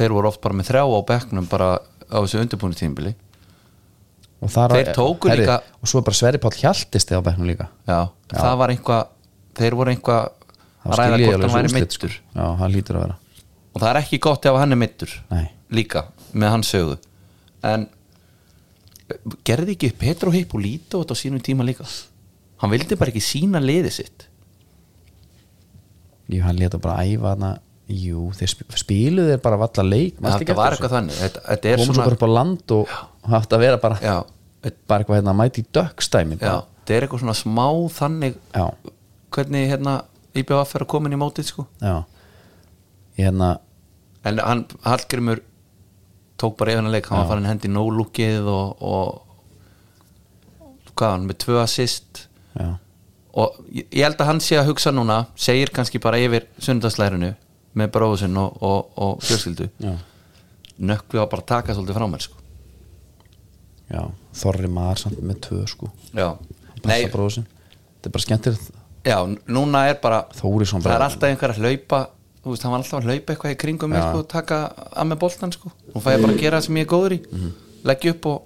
[SPEAKER 2] þeir voru oft bara með þrjá á bekknum bara á þessu undirbúinu tímbili
[SPEAKER 1] og, þar
[SPEAKER 2] Þeir
[SPEAKER 1] að-
[SPEAKER 2] tóku
[SPEAKER 1] herri,
[SPEAKER 2] líka-
[SPEAKER 1] og svo er bara Sverri Páll Hjaltist á bekknum líka
[SPEAKER 2] já, það var einhvað þeir voru einhvað
[SPEAKER 1] Þá
[SPEAKER 2] að ræða
[SPEAKER 1] skil ég
[SPEAKER 2] hvort
[SPEAKER 1] alveg
[SPEAKER 2] hann
[SPEAKER 1] þessi
[SPEAKER 2] væri
[SPEAKER 1] úrslit,
[SPEAKER 2] mittur
[SPEAKER 1] sko. já, hann lítur að vera
[SPEAKER 2] og það er ekki gott ef hann er mittur
[SPEAKER 1] Nei.
[SPEAKER 2] líka með hans sögu en gerði ekki Petro Hippolito þetta á sínum tíma líka hann vildi bara ekki sína liði sitt
[SPEAKER 1] Jú, hann leta bara æfa hana Jú, þeir sp spiluðu þeir bara valla leik manstu ekki
[SPEAKER 2] þetta var
[SPEAKER 1] eftir
[SPEAKER 2] eitthvað
[SPEAKER 1] þessu?
[SPEAKER 2] þannig þetta, þetta er
[SPEAKER 1] Komu svo
[SPEAKER 2] svona
[SPEAKER 1] bara upp á land og haft að vera bara
[SPEAKER 2] já, þetta-
[SPEAKER 1] bara eitthvað hérna, mæti í dökkstæmi
[SPEAKER 2] já, þetta er eitthvað svona smá þannig
[SPEAKER 1] já,
[SPEAKER 2] hvernig hérna IBF er að koma inn í mótið sko
[SPEAKER 1] já Ég hérna,
[SPEAKER 2] en hann, Hallgrimur tók bara yfirna leik, hann var farin að hendi no-lookið og, og hvað hann, með tvö assist
[SPEAKER 1] já,
[SPEAKER 2] og ég ég held að hann sé að hugsa núna segir kannski bara yfir sunnudagslærinu með bróðusinn og, og, og fjölskyldu
[SPEAKER 1] já,
[SPEAKER 2] nökkvi á bara að taka svolítið frá mér sko.
[SPEAKER 1] já Þorri maður samt með tvö sko
[SPEAKER 2] já. Nei,
[SPEAKER 1] Passa bróðu sinn Þetta er bara skemmtir
[SPEAKER 2] já, n- núna er bara
[SPEAKER 1] Þórisson
[SPEAKER 2] það er
[SPEAKER 1] bara-
[SPEAKER 2] alltaf einhver að hlaupa þú veist, hann var alltaf að hlaupa eitthvað í kringum mig
[SPEAKER 1] Já.
[SPEAKER 2] sko, og taka að með boltan sko. nú fæ ég bara að gera það sem ég er góður í
[SPEAKER 1] Mhm.
[SPEAKER 2] leggja upp og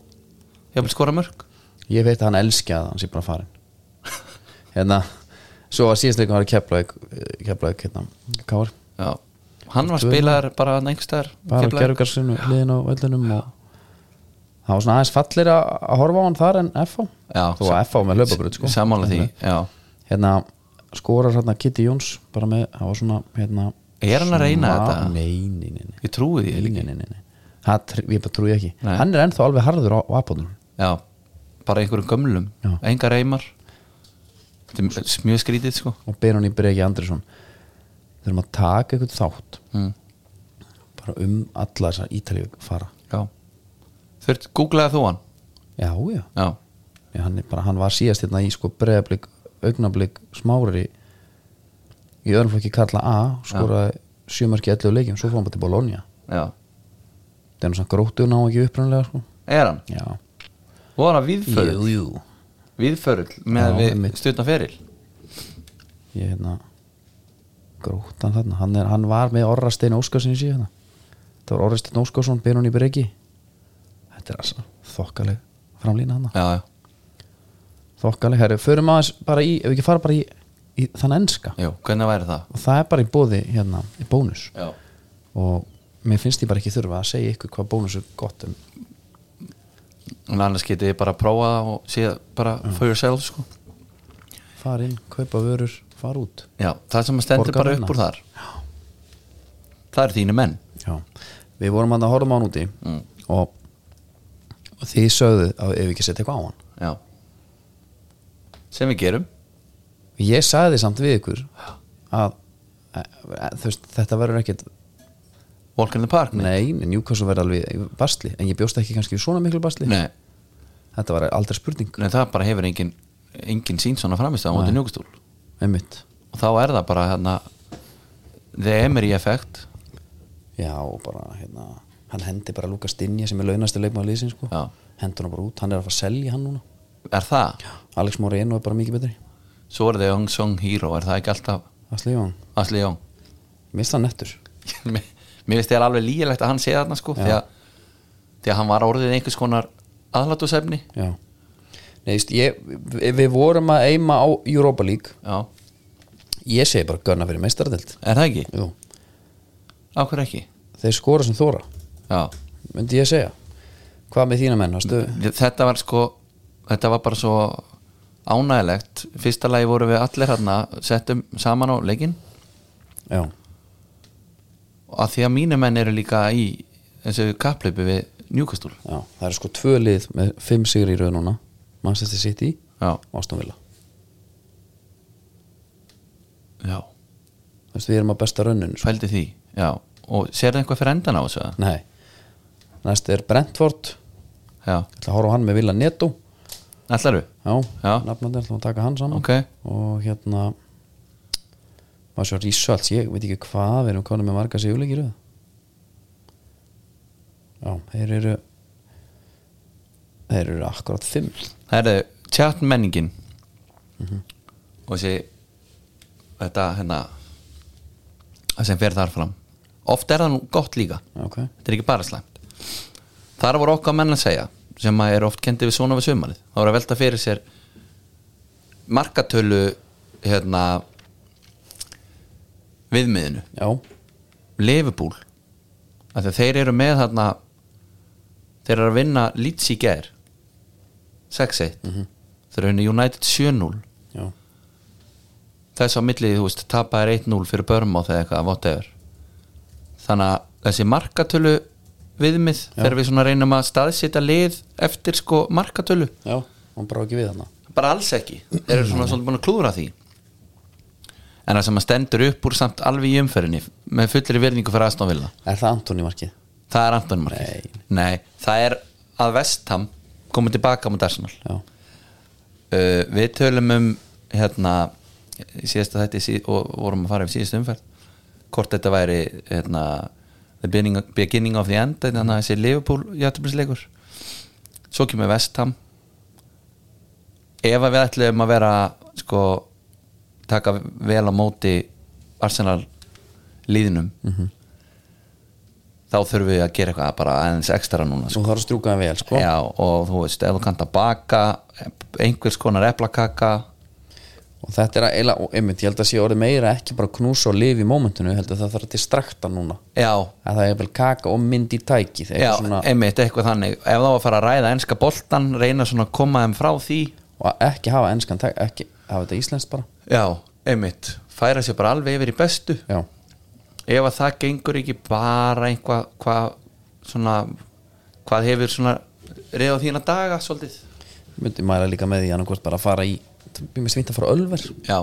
[SPEAKER 2] ég vil skora mörg
[SPEAKER 1] Ég veit að hann elski að hann sé bara farin Hérna Svo var síðast leikum að Keflavík Keflavík, hérna, Káar
[SPEAKER 2] já. hann var spilaður bara einhverstaðar
[SPEAKER 1] bara á gerðugarsinu liðin á völlunum og það var svona aðeins fallir að að horfa á hann þar en FH
[SPEAKER 2] Já,
[SPEAKER 1] þó að FH með löpabröð sko.
[SPEAKER 2] samanlega því, já
[SPEAKER 1] hérna skorar hérna Kitty Jóns bara með, það var svona hérna,
[SPEAKER 2] Er hann að reyna
[SPEAKER 1] smá-
[SPEAKER 2] þetta?
[SPEAKER 1] Nei, nei, nei, nei,
[SPEAKER 2] ég trúi því
[SPEAKER 1] nei, nei, nei, nei. Það, tr- ég bara trúi ekki
[SPEAKER 2] Nei.
[SPEAKER 1] hann er ennþá alveg harður á, á apóðunum
[SPEAKER 2] Já, bara einhverjum gömlum
[SPEAKER 1] Já.
[SPEAKER 2] Engar reymar Þetta er mj- mjög skrítið sko
[SPEAKER 1] og ber hann í Breki Andrisson þurfum að taka eitthvað þátt
[SPEAKER 2] mm.
[SPEAKER 1] bara um alla þessar ítalíu fara
[SPEAKER 2] Já Þurft, googlaði þú hann?
[SPEAKER 1] já, já,
[SPEAKER 2] Já,
[SPEAKER 1] Já, hann, er bara, hann var síðast hérna í sko breðablík, augnablík, smárir í í öðrumflokki Karla A skoraði sjömarki 11 leikjum svo fóðum bara til Bologna
[SPEAKER 2] já
[SPEAKER 1] það er nú svona gróttu ná ekki upprænlega sko.
[SPEAKER 2] Er hann?
[SPEAKER 1] já,
[SPEAKER 2] Og hann að viðförull
[SPEAKER 1] jú
[SPEAKER 2] Viðförull með
[SPEAKER 1] Já,
[SPEAKER 2] við
[SPEAKER 1] einmitt.
[SPEAKER 2] stjórna feril
[SPEAKER 1] ég hérna gróttan þarna, hann, er, hann var með orra steinu Óskarsinni síðan þetta var Orristinn Óskarsson, Benóni Breki þetta er altså þokkaleg framlýna hana,
[SPEAKER 2] já, já,
[SPEAKER 1] þokkaleg herri, förum aðeins bara í, ef við ekki fara bara í, í þann enska,
[SPEAKER 2] já, hvernig væri það?
[SPEAKER 1] og það er bara í bóði hérna, í bónus
[SPEAKER 2] Já,
[SPEAKER 1] og mér finnst ég bara ekki þurfa að segja ykkur hvað bónus er gott um
[SPEAKER 2] en annars getið þið bara að prófa það og séð bara for yourself sko
[SPEAKER 1] fara inn, kaupa vörur, fara út
[SPEAKER 2] Já, það sem stendur
[SPEAKER 1] Borgar
[SPEAKER 2] bara
[SPEAKER 1] vinna.
[SPEAKER 2] upp úr þar Það eru þínu menn
[SPEAKER 1] Já, við vorum að horfum á hann úti
[SPEAKER 2] Mm.
[SPEAKER 1] og, og þið sögðu að ef við ekki setja eitthvað á hann
[SPEAKER 2] Já Sem við gerum
[SPEAKER 1] ég sagði því samt við ykkur að e, e, þú veist, þetta verður ekkit
[SPEAKER 2] Walk in the park Nei,
[SPEAKER 1] nei, Newcastle verður alveg í basli en ég bjóst ekki kannski í svona miklu basli
[SPEAKER 2] nei,
[SPEAKER 1] þetta var aldrei spurning,
[SPEAKER 2] það bara hefur engin engin sín svona framist á móti njúkustúl
[SPEAKER 1] einmitt
[SPEAKER 2] og þá er það bara hérna The Emery effect
[SPEAKER 1] já, og bara, hérna, hann hendi bara Lukas Dinja sem er launasti leikmaður liðsins sko.
[SPEAKER 2] Já.
[SPEAKER 1] hendur hann bara út, hann er að fara að selja hann núna
[SPEAKER 2] Er það?
[SPEAKER 1] Alex Moreno er bara mikið betri
[SPEAKER 2] Svo er það Young Song Hero Er það ekki alltaf
[SPEAKER 1] að slífa hann,
[SPEAKER 2] Asli Young
[SPEAKER 1] mista hann nettur
[SPEAKER 2] Mér mér finnst þér alveg lýjulegt að hann sé þarna sko því að, því að hann var orðið einhvers konar aðlátusefni
[SPEAKER 1] Já Nei, just, ég, við við vorum að eima á Europa League
[SPEAKER 2] Já,
[SPEAKER 1] Ég segi bara gönna fyrir meistaradelt
[SPEAKER 2] er það ekki?
[SPEAKER 1] Jú,
[SPEAKER 2] Á hverju ekki?
[SPEAKER 1] þeir skora sem þóra
[SPEAKER 2] Já,
[SPEAKER 1] Myndi ég segja Hvað með þína menn, varstu?
[SPEAKER 2] þetta var sko þetta var bara svo ánægilegt fyrsta lagi voru við allir hérna settum saman á leikinn
[SPEAKER 1] Já,
[SPEAKER 2] og að því að mínu menn eru líka í þessu kapplöpu við njúkastúl
[SPEAKER 1] já, það eru sko tvö lið með fimm sigur í rauð núna Manchester City
[SPEAKER 2] já,
[SPEAKER 1] og Aston Villa
[SPEAKER 2] já,
[SPEAKER 1] Þú veist, við erum að besta raunin sko.
[SPEAKER 2] pældi því já, og sérðu eitthvað fyrir endan á þessu eða?
[SPEAKER 1] Nei, næst er Brentford
[SPEAKER 2] já,
[SPEAKER 1] Það horfa á hann með Villa Neto
[SPEAKER 2] ætlaru
[SPEAKER 1] Já,
[SPEAKER 2] Já.
[SPEAKER 1] nafnandi er það að taka hann saman
[SPEAKER 2] Ok.
[SPEAKER 1] Og hérna Maður svo results, ég veit ekki hvað Við erum konum með marga sigurleikir röð. Já, þeir eru Þeir eru akkurat fimm
[SPEAKER 2] það er tjátt menningin og þessi þetta hérna það sem fer þar fram oft er það nú gott líka
[SPEAKER 1] Ok,
[SPEAKER 2] þetta er ekki bara slæmt þar voru okkar menn að segja sem að er oft kendi við svona við sumarið þá voru að velta fyrir sér markatölu hérna viðmiðinu,
[SPEAKER 1] já,
[SPEAKER 2] lefubúl af því að þeir eru með þarna þeir eru að vinna Leeds í ger 6-1 þeir eru að vinna United 7-0
[SPEAKER 1] já,
[SPEAKER 2] þess á milli, þú veist, tapaðir 1-0 fyrir börnmáð eða eitthvað, whatever þannig að þessi markatölu viðmið, þegar við svona reynum að staðsita lið eftir sko markatölu
[SPEAKER 1] já Hún brá ekki við hana
[SPEAKER 2] bara alls ekki, þeir eru svona svona búin að klúðra því en það sem að stendur upp úr samt alveg í umferðinni með fullri verningu fyrir aðstofnvilna
[SPEAKER 1] Er það Antoni markið?
[SPEAKER 2] það er Anton Markið Nei. það er að Vestham komið tilbaka mot Arsenal
[SPEAKER 1] Já,
[SPEAKER 2] uh, við tölum um hérna síðasta þetta síð, og vorum að fara yfir síðasta umferð hvort þetta væri hérna, the beginning, beginning of the end þannig að þessi Liverpool játtöflisleikur svo kemur Vestham ef að við ætlum að vera sko taka vel á móti Arsenal líðinum þá þurfum við að gera eitthvað bara aðeins ekstra núna sko.
[SPEAKER 1] þú þarf að strjúka það vel, sko
[SPEAKER 2] Já, og þú veist, ef þú kannt að baka einhvers konar eplakaka
[SPEAKER 1] Og þetta er að eila, og einmitt, ég held að sé orðið meira ekki bara knús og lif í mómentinu, ég held að það þarf að distrakta núna
[SPEAKER 2] já,
[SPEAKER 1] að það er vel kaka og mynd í tæki eitthvað
[SPEAKER 2] já einmitt eitthvað þannig ef það var að fara að ræða enska boltan reyna svona að koma þeim frá því
[SPEAKER 1] og ekki hafa enskan tæk, ekki hafa þetta íslenskt bara
[SPEAKER 2] já, einmitt, færa sér bara alveg yfir í bestu
[SPEAKER 1] já,
[SPEAKER 2] ef að það gengur ekki bara einhvað hvað svona hvað hefur svona reyða þína daga svolítið
[SPEAKER 1] myndi mæla líka með því annarkvort bara að fara í mér finnst fínt að fara á ölver
[SPEAKER 2] já,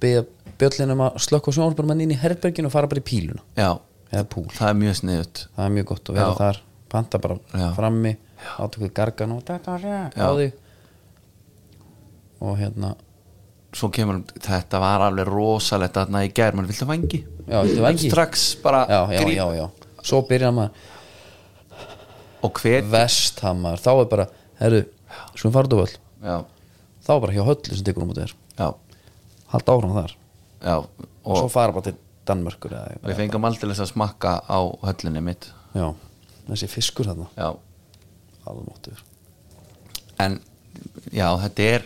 [SPEAKER 1] beða bjöllinum að slökka sjónvarparmann inn í herberginu og fara bara í píluna
[SPEAKER 2] já,
[SPEAKER 1] eða púl,
[SPEAKER 2] það er mjög sniðut
[SPEAKER 1] það er mjög gott að vera
[SPEAKER 2] Já.
[SPEAKER 1] þar panta bara
[SPEAKER 2] Já.
[SPEAKER 1] frammi átökuð gargan og taka á
[SPEAKER 2] Já.
[SPEAKER 1] þig og hérna
[SPEAKER 2] svo kemur, þetta var alveg rosalegt þarna í gær, mann viltu vangi
[SPEAKER 1] já, þetta var ekki já,
[SPEAKER 2] strax bara
[SPEAKER 1] já,
[SPEAKER 2] gríp-
[SPEAKER 1] já, já, svo byrjar maður
[SPEAKER 2] og hvet
[SPEAKER 1] vesthamar, þá er bara herru, svo við farðu völl
[SPEAKER 2] já,
[SPEAKER 1] þá er bara hjá höllu sem tekur um út þér
[SPEAKER 2] já,
[SPEAKER 1] halda áfram þar
[SPEAKER 2] já
[SPEAKER 1] og svo
[SPEAKER 2] og,
[SPEAKER 1] fara bara til Danmörkur eða
[SPEAKER 2] Við fengum aldrei að smakka á höllinni mitt
[SPEAKER 1] Já, þessi fiskur þarna
[SPEAKER 2] Já,
[SPEAKER 1] Almóttur
[SPEAKER 2] en já, þetta er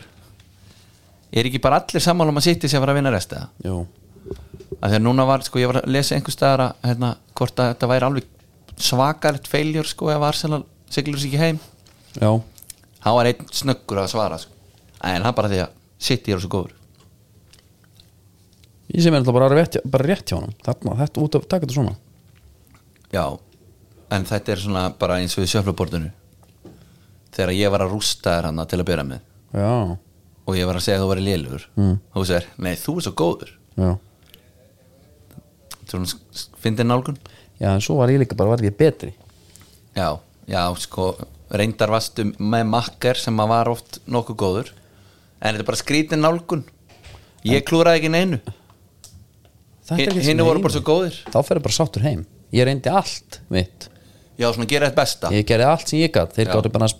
[SPEAKER 2] er ekki bara allir sammála um að sitja sem var að vinna resta
[SPEAKER 1] Jú,
[SPEAKER 2] að þegar núna var, sko, ég var að lesa einhvers staðar að hérna, hvort að þetta væri alveg svakalegt feiljur, sko, ef Arsenal siglur sér ekki heim,
[SPEAKER 1] já,
[SPEAKER 2] hann var einn snöggur að svara, sko, en það er bara því að City eru svo góður,
[SPEAKER 1] ég sem er alltaf bara rétt, bara rétt hjá honum Þarna, þetta út af, taka þetta svona
[SPEAKER 2] já en þetta er svona bara eins og í sjöflubordinu þegar ég var að rústa þér hann til að byrja með
[SPEAKER 1] Já,
[SPEAKER 2] og ég var að segja að þú væri lélugur mm. og þú segir, nei, þú er svo góður
[SPEAKER 1] já
[SPEAKER 2] svona, fyndið nálgun
[SPEAKER 1] Já, en svo var ég líka bara, varð ég betri
[SPEAKER 2] Já, já, sko reyndar vastu með makker sem að var oft nokkuð góður en þetta er bara skrítin nálgun ég klúraði ekki neinu
[SPEAKER 1] Þetta er
[SPEAKER 2] Hin-
[SPEAKER 1] ekkert sem
[SPEAKER 2] hinu voru
[SPEAKER 1] heim.
[SPEAKER 2] bara svo góðir.
[SPEAKER 1] Þá ferðu bara sáttur heim Ég reyndi allt mitt
[SPEAKER 2] já, svona gera þetta besta
[SPEAKER 1] Ég gerði allt sem ég gat Þeir
[SPEAKER 2] Já.
[SPEAKER 1] gáttu bara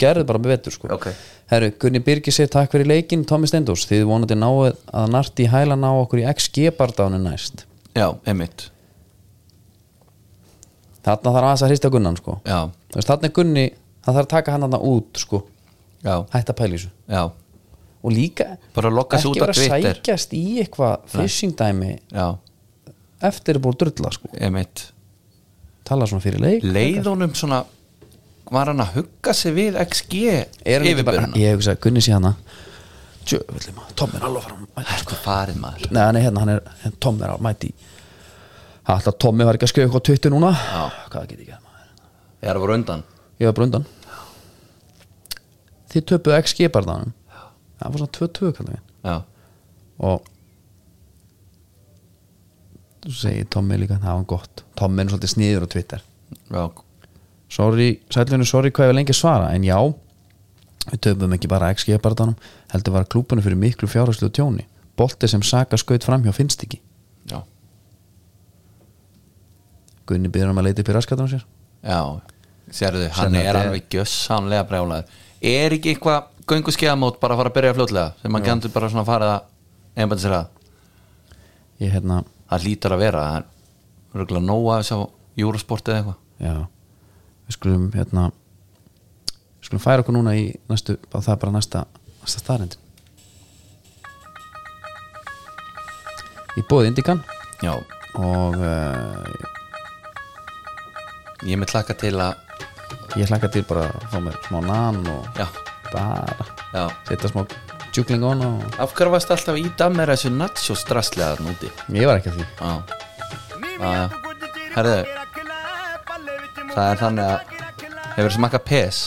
[SPEAKER 1] gerðu bara með vetur sko.
[SPEAKER 2] Ok.
[SPEAKER 1] Herru, Gunni Birgir sér takk fyrir leikin Tommy Stendós, þið vonandi náðu að narti hæla ná okkur í XG-bardánu næst
[SPEAKER 2] já, einmitt
[SPEAKER 1] Þarna þarf aðeins að hrista Gunnan sko.
[SPEAKER 2] já,
[SPEAKER 1] Þú veist, Þarna er Gunni, hann þarf að taka hann þarna út sko.
[SPEAKER 2] já,
[SPEAKER 1] Hætta að pæla í þessu
[SPEAKER 2] já,
[SPEAKER 1] Og líka
[SPEAKER 2] Bara lokka sig
[SPEAKER 1] ekki
[SPEAKER 2] út af
[SPEAKER 1] vera að
[SPEAKER 2] Twitter.
[SPEAKER 1] sækjast í eitthvað phishing dæmi
[SPEAKER 2] já,
[SPEAKER 1] eftir er búið að drulla sko.
[SPEAKER 2] einmitt
[SPEAKER 1] Tala svona fyrir leik
[SPEAKER 2] leið honum svona var hann að hugga sig við XG
[SPEAKER 1] Er hann ekki bara,
[SPEAKER 2] yfirböruna
[SPEAKER 1] ég hugsa, Gunni sé hana Tjöfulli maður, Tom er alveg fram
[SPEAKER 2] sko farið maður
[SPEAKER 1] Nei, hann er hérna, hann er, hann- Tom er á mæti Alltaf Tommi var ekki að skrifa eitthvað tuttu núna
[SPEAKER 2] Já.
[SPEAKER 1] Hvað get ég að maður
[SPEAKER 2] ég er að voru undan
[SPEAKER 1] Ég var bara undan Þið töpuðu ekki skiparðanum Það var svona 2-2 kallar við
[SPEAKER 2] já,
[SPEAKER 1] Og Þú segir Tommi líka, það var gott Tommi er nú svolítið sniður á Twitter
[SPEAKER 2] já,
[SPEAKER 1] sorry, sælunum sorry hvað ég var lengi að svara en já, við töfum ekki bara XG barðanum, heldur var klúbunum fyrir miklu fjárhæslu tjóni, bolti sem Saka skaut framhjá finnst ekki,
[SPEAKER 2] já,
[SPEAKER 1] Gunni byrður um að leita upp í raskatunum sér,
[SPEAKER 2] já. sérðu, hann
[SPEAKER 1] Sem
[SPEAKER 2] er
[SPEAKER 1] þetta er-
[SPEAKER 2] alveg gjössamlega brjálaður er ekki eitthvað göngu skeiðamót bara að fara að byrja fljótlega sem hann gæmdur bara svona að fara að einbæta sér að
[SPEAKER 1] ég hérna
[SPEAKER 2] það lítur að vera það er röglega nóa þess á júrasport eða eitthvað
[SPEAKER 1] já, við skulum hérna við skulum færa okkur núna í næstu, á það er bara næsta næsta starrendin ég bóði Indikan
[SPEAKER 2] já,
[SPEAKER 1] og uh,
[SPEAKER 2] ég er með klaka til að
[SPEAKER 1] ég hlakka til bara að fá mér smá nan og
[SPEAKER 2] já,
[SPEAKER 1] bara
[SPEAKER 2] já
[SPEAKER 1] setja smá tjúkling on og
[SPEAKER 2] af hverju varst alltaf í damer þessu nacho strasslega þarna úti
[SPEAKER 1] ég var ekki að því
[SPEAKER 2] já,
[SPEAKER 5] Já, já. Herðu Það er þannig að
[SPEAKER 2] hefur smakka pes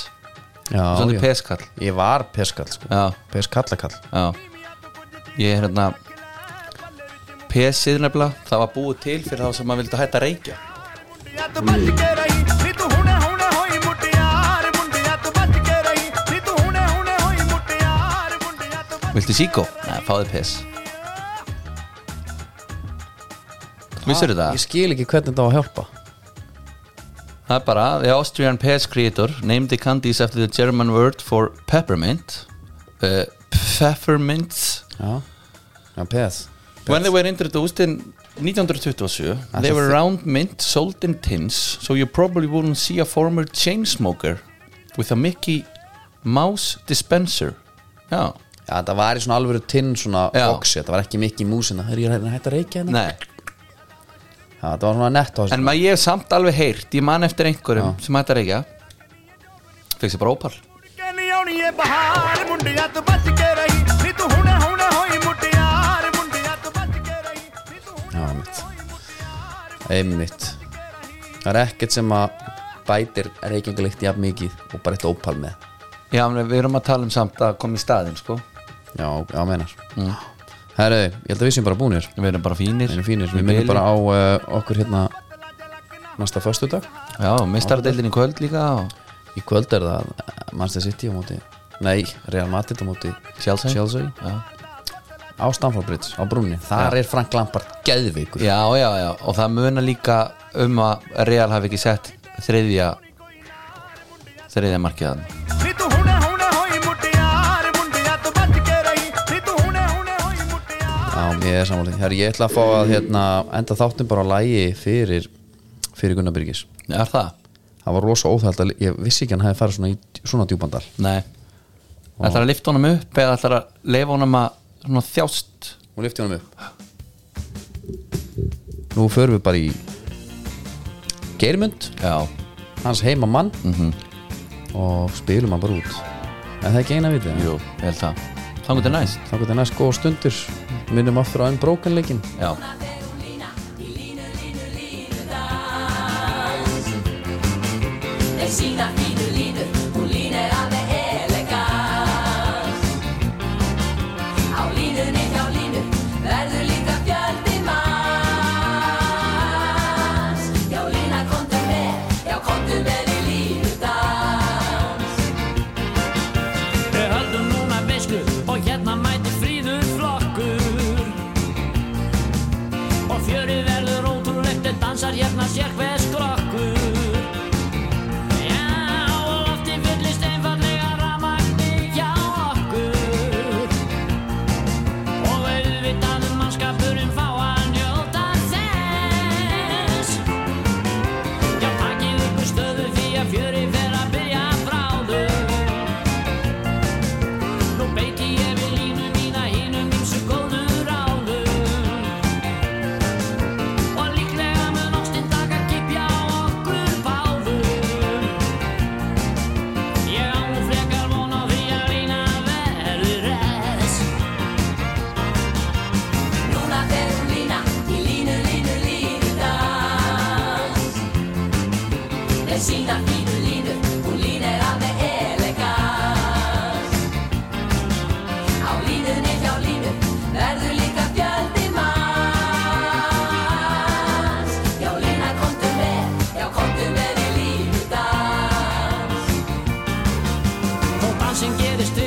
[SPEAKER 1] já,
[SPEAKER 2] svona
[SPEAKER 1] ég,
[SPEAKER 2] peskall
[SPEAKER 1] ég var peskall sko.
[SPEAKER 2] já,
[SPEAKER 1] peskallakall
[SPEAKER 2] já ég er hérna pesið nefnilega, það var búið til fyrir þá sem maður vildi hætta að reykja Viltu síkó? Nei, fáðu pes Vissirðu
[SPEAKER 1] ég
[SPEAKER 2] það?
[SPEAKER 1] skil ekki hvernig það var að hjálpa
[SPEAKER 2] Það er bara The Austrian Pes Creator named the candies after the German word for peppermint uh, Pfeffermints
[SPEAKER 1] já, já pes
[SPEAKER 2] When they were introduced in 1927 They
[SPEAKER 1] Ætli
[SPEAKER 2] were
[SPEAKER 1] þi-
[SPEAKER 2] round mint sold in tins So you probably wouldn't see a former chain smoker With a Mickey Mouse dispenser Oh, Já,
[SPEAKER 1] já, það var í svona alvöru tinn svona
[SPEAKER 2] Já.
[SPEAKER 1] boxi það var ekki mikið í músina er ég hægt að reykja hérna
[SPEAKER 2] nei
[SPEAKER 1] Já, það var svona netto
[SPEAKER 2] En maður ég hef samt alveg heyrt, ég man eftir einhverjum sem hættar ekki að Fekst ég bara ópal
[SPEAKER 1] já, mitt einmitt það er ekkert sem að bætir reykjangalikt jafn mikið og bara eitt ópal með
[SPEAKER 2] Já, en við erum að tala um samt að koma í staðinn, sko
[SPEAKER 1] já, já, meinar Mm. herru, ég held að við sem bara búnir
[SPEAKER 2] Við erum bara fínir
[SPEAKER 1] Við erum fínir, við minnum bara á uh, okkur hérna næsta föstudag
[SPEAKER 2] Já, mistaradeildin í kvöld líka og...
[SPEAKER 1] Í kvöld er það Manchester City á móti Nei, Real Madrid á móti
[SPEAKER 2] Chelsea.
[SPEAKER 1] Chelsea.
[SPEAKER 2] já.
[SPEAKER 1] Á Stamford Bridge, á brúnni Þar er Frank Lampard geðveikur
[SPEAKER 2] já, já, já, og það muna líka um að Real hafi ekki sett þriðja þriðja markiðan
[SPEAKER 1] Já, Ég er samanlega Herri, ég ætla að fá að hérna, enda þáttum bara að lægi fyrir, fyrir Gunnar Byrgis
[SPEAKER 2] Já, er það?
[SPEAKER 1] Það var rosa óþægt að ég vissi ekki að hann hefði farið svona, í, svona djúbandal
[SPEAKER 2] Nei Ætlar að lifta honum upp eða ætlar að leifa honum að svona, þjást
[SPEAKER 1] Hún lyfti honum upp Nú förum við bara í Geirmund
[SPEAKER 2] Já,
[SPEAKER 1] Hans heimamann
[SPEAKER 2] Mhm.
[SPEAKER 1] Og spilum hann bara út En það er ekki eina vitið
[SPEAKER 2] jú, ég held það Þangur til næst
[SPEAKER 1] Þá gæti næst góða stundur Minnum aftur á einn brókanleikin
[SPEAKER 2] Já
[SPEAKER 6] Þeir sína fínu línu, hún lín er alveg elegans Á línunni hjá línu verður líka fjöldi manns Já lína komdu með, já komdu með í línudans
[SPEAKER 7] Við höldum núna veislu og hérna mætir fríður flokkur Og fjöri verður ótrúlegt en dansar hérna sér hver skrokkur Já, og lofti fyllist einfallega rafmagni hjá okkur Og auðvitað um mannskapurinn fá að njóta þess Já, takkið ykkur stöðu því að fjöri fer að byrja bráðum Nú beiti ég við línu mína hinum ýmsu góðu ráðum. Og líklega mun ástin taka kippja á okkur báðum. Ég á nú frekar von á því að lína verði res.
[SPEAKER 6] Núna fer hún lína í línu, línu, línudans Þeir sína fínu línu, hún lín er alveg elegans Á línunni hjá línu verður líka fjöldi manns Já, lína, komdu með, já, komdu með í línudans
[SPEAKER 7] Og dansinn gerist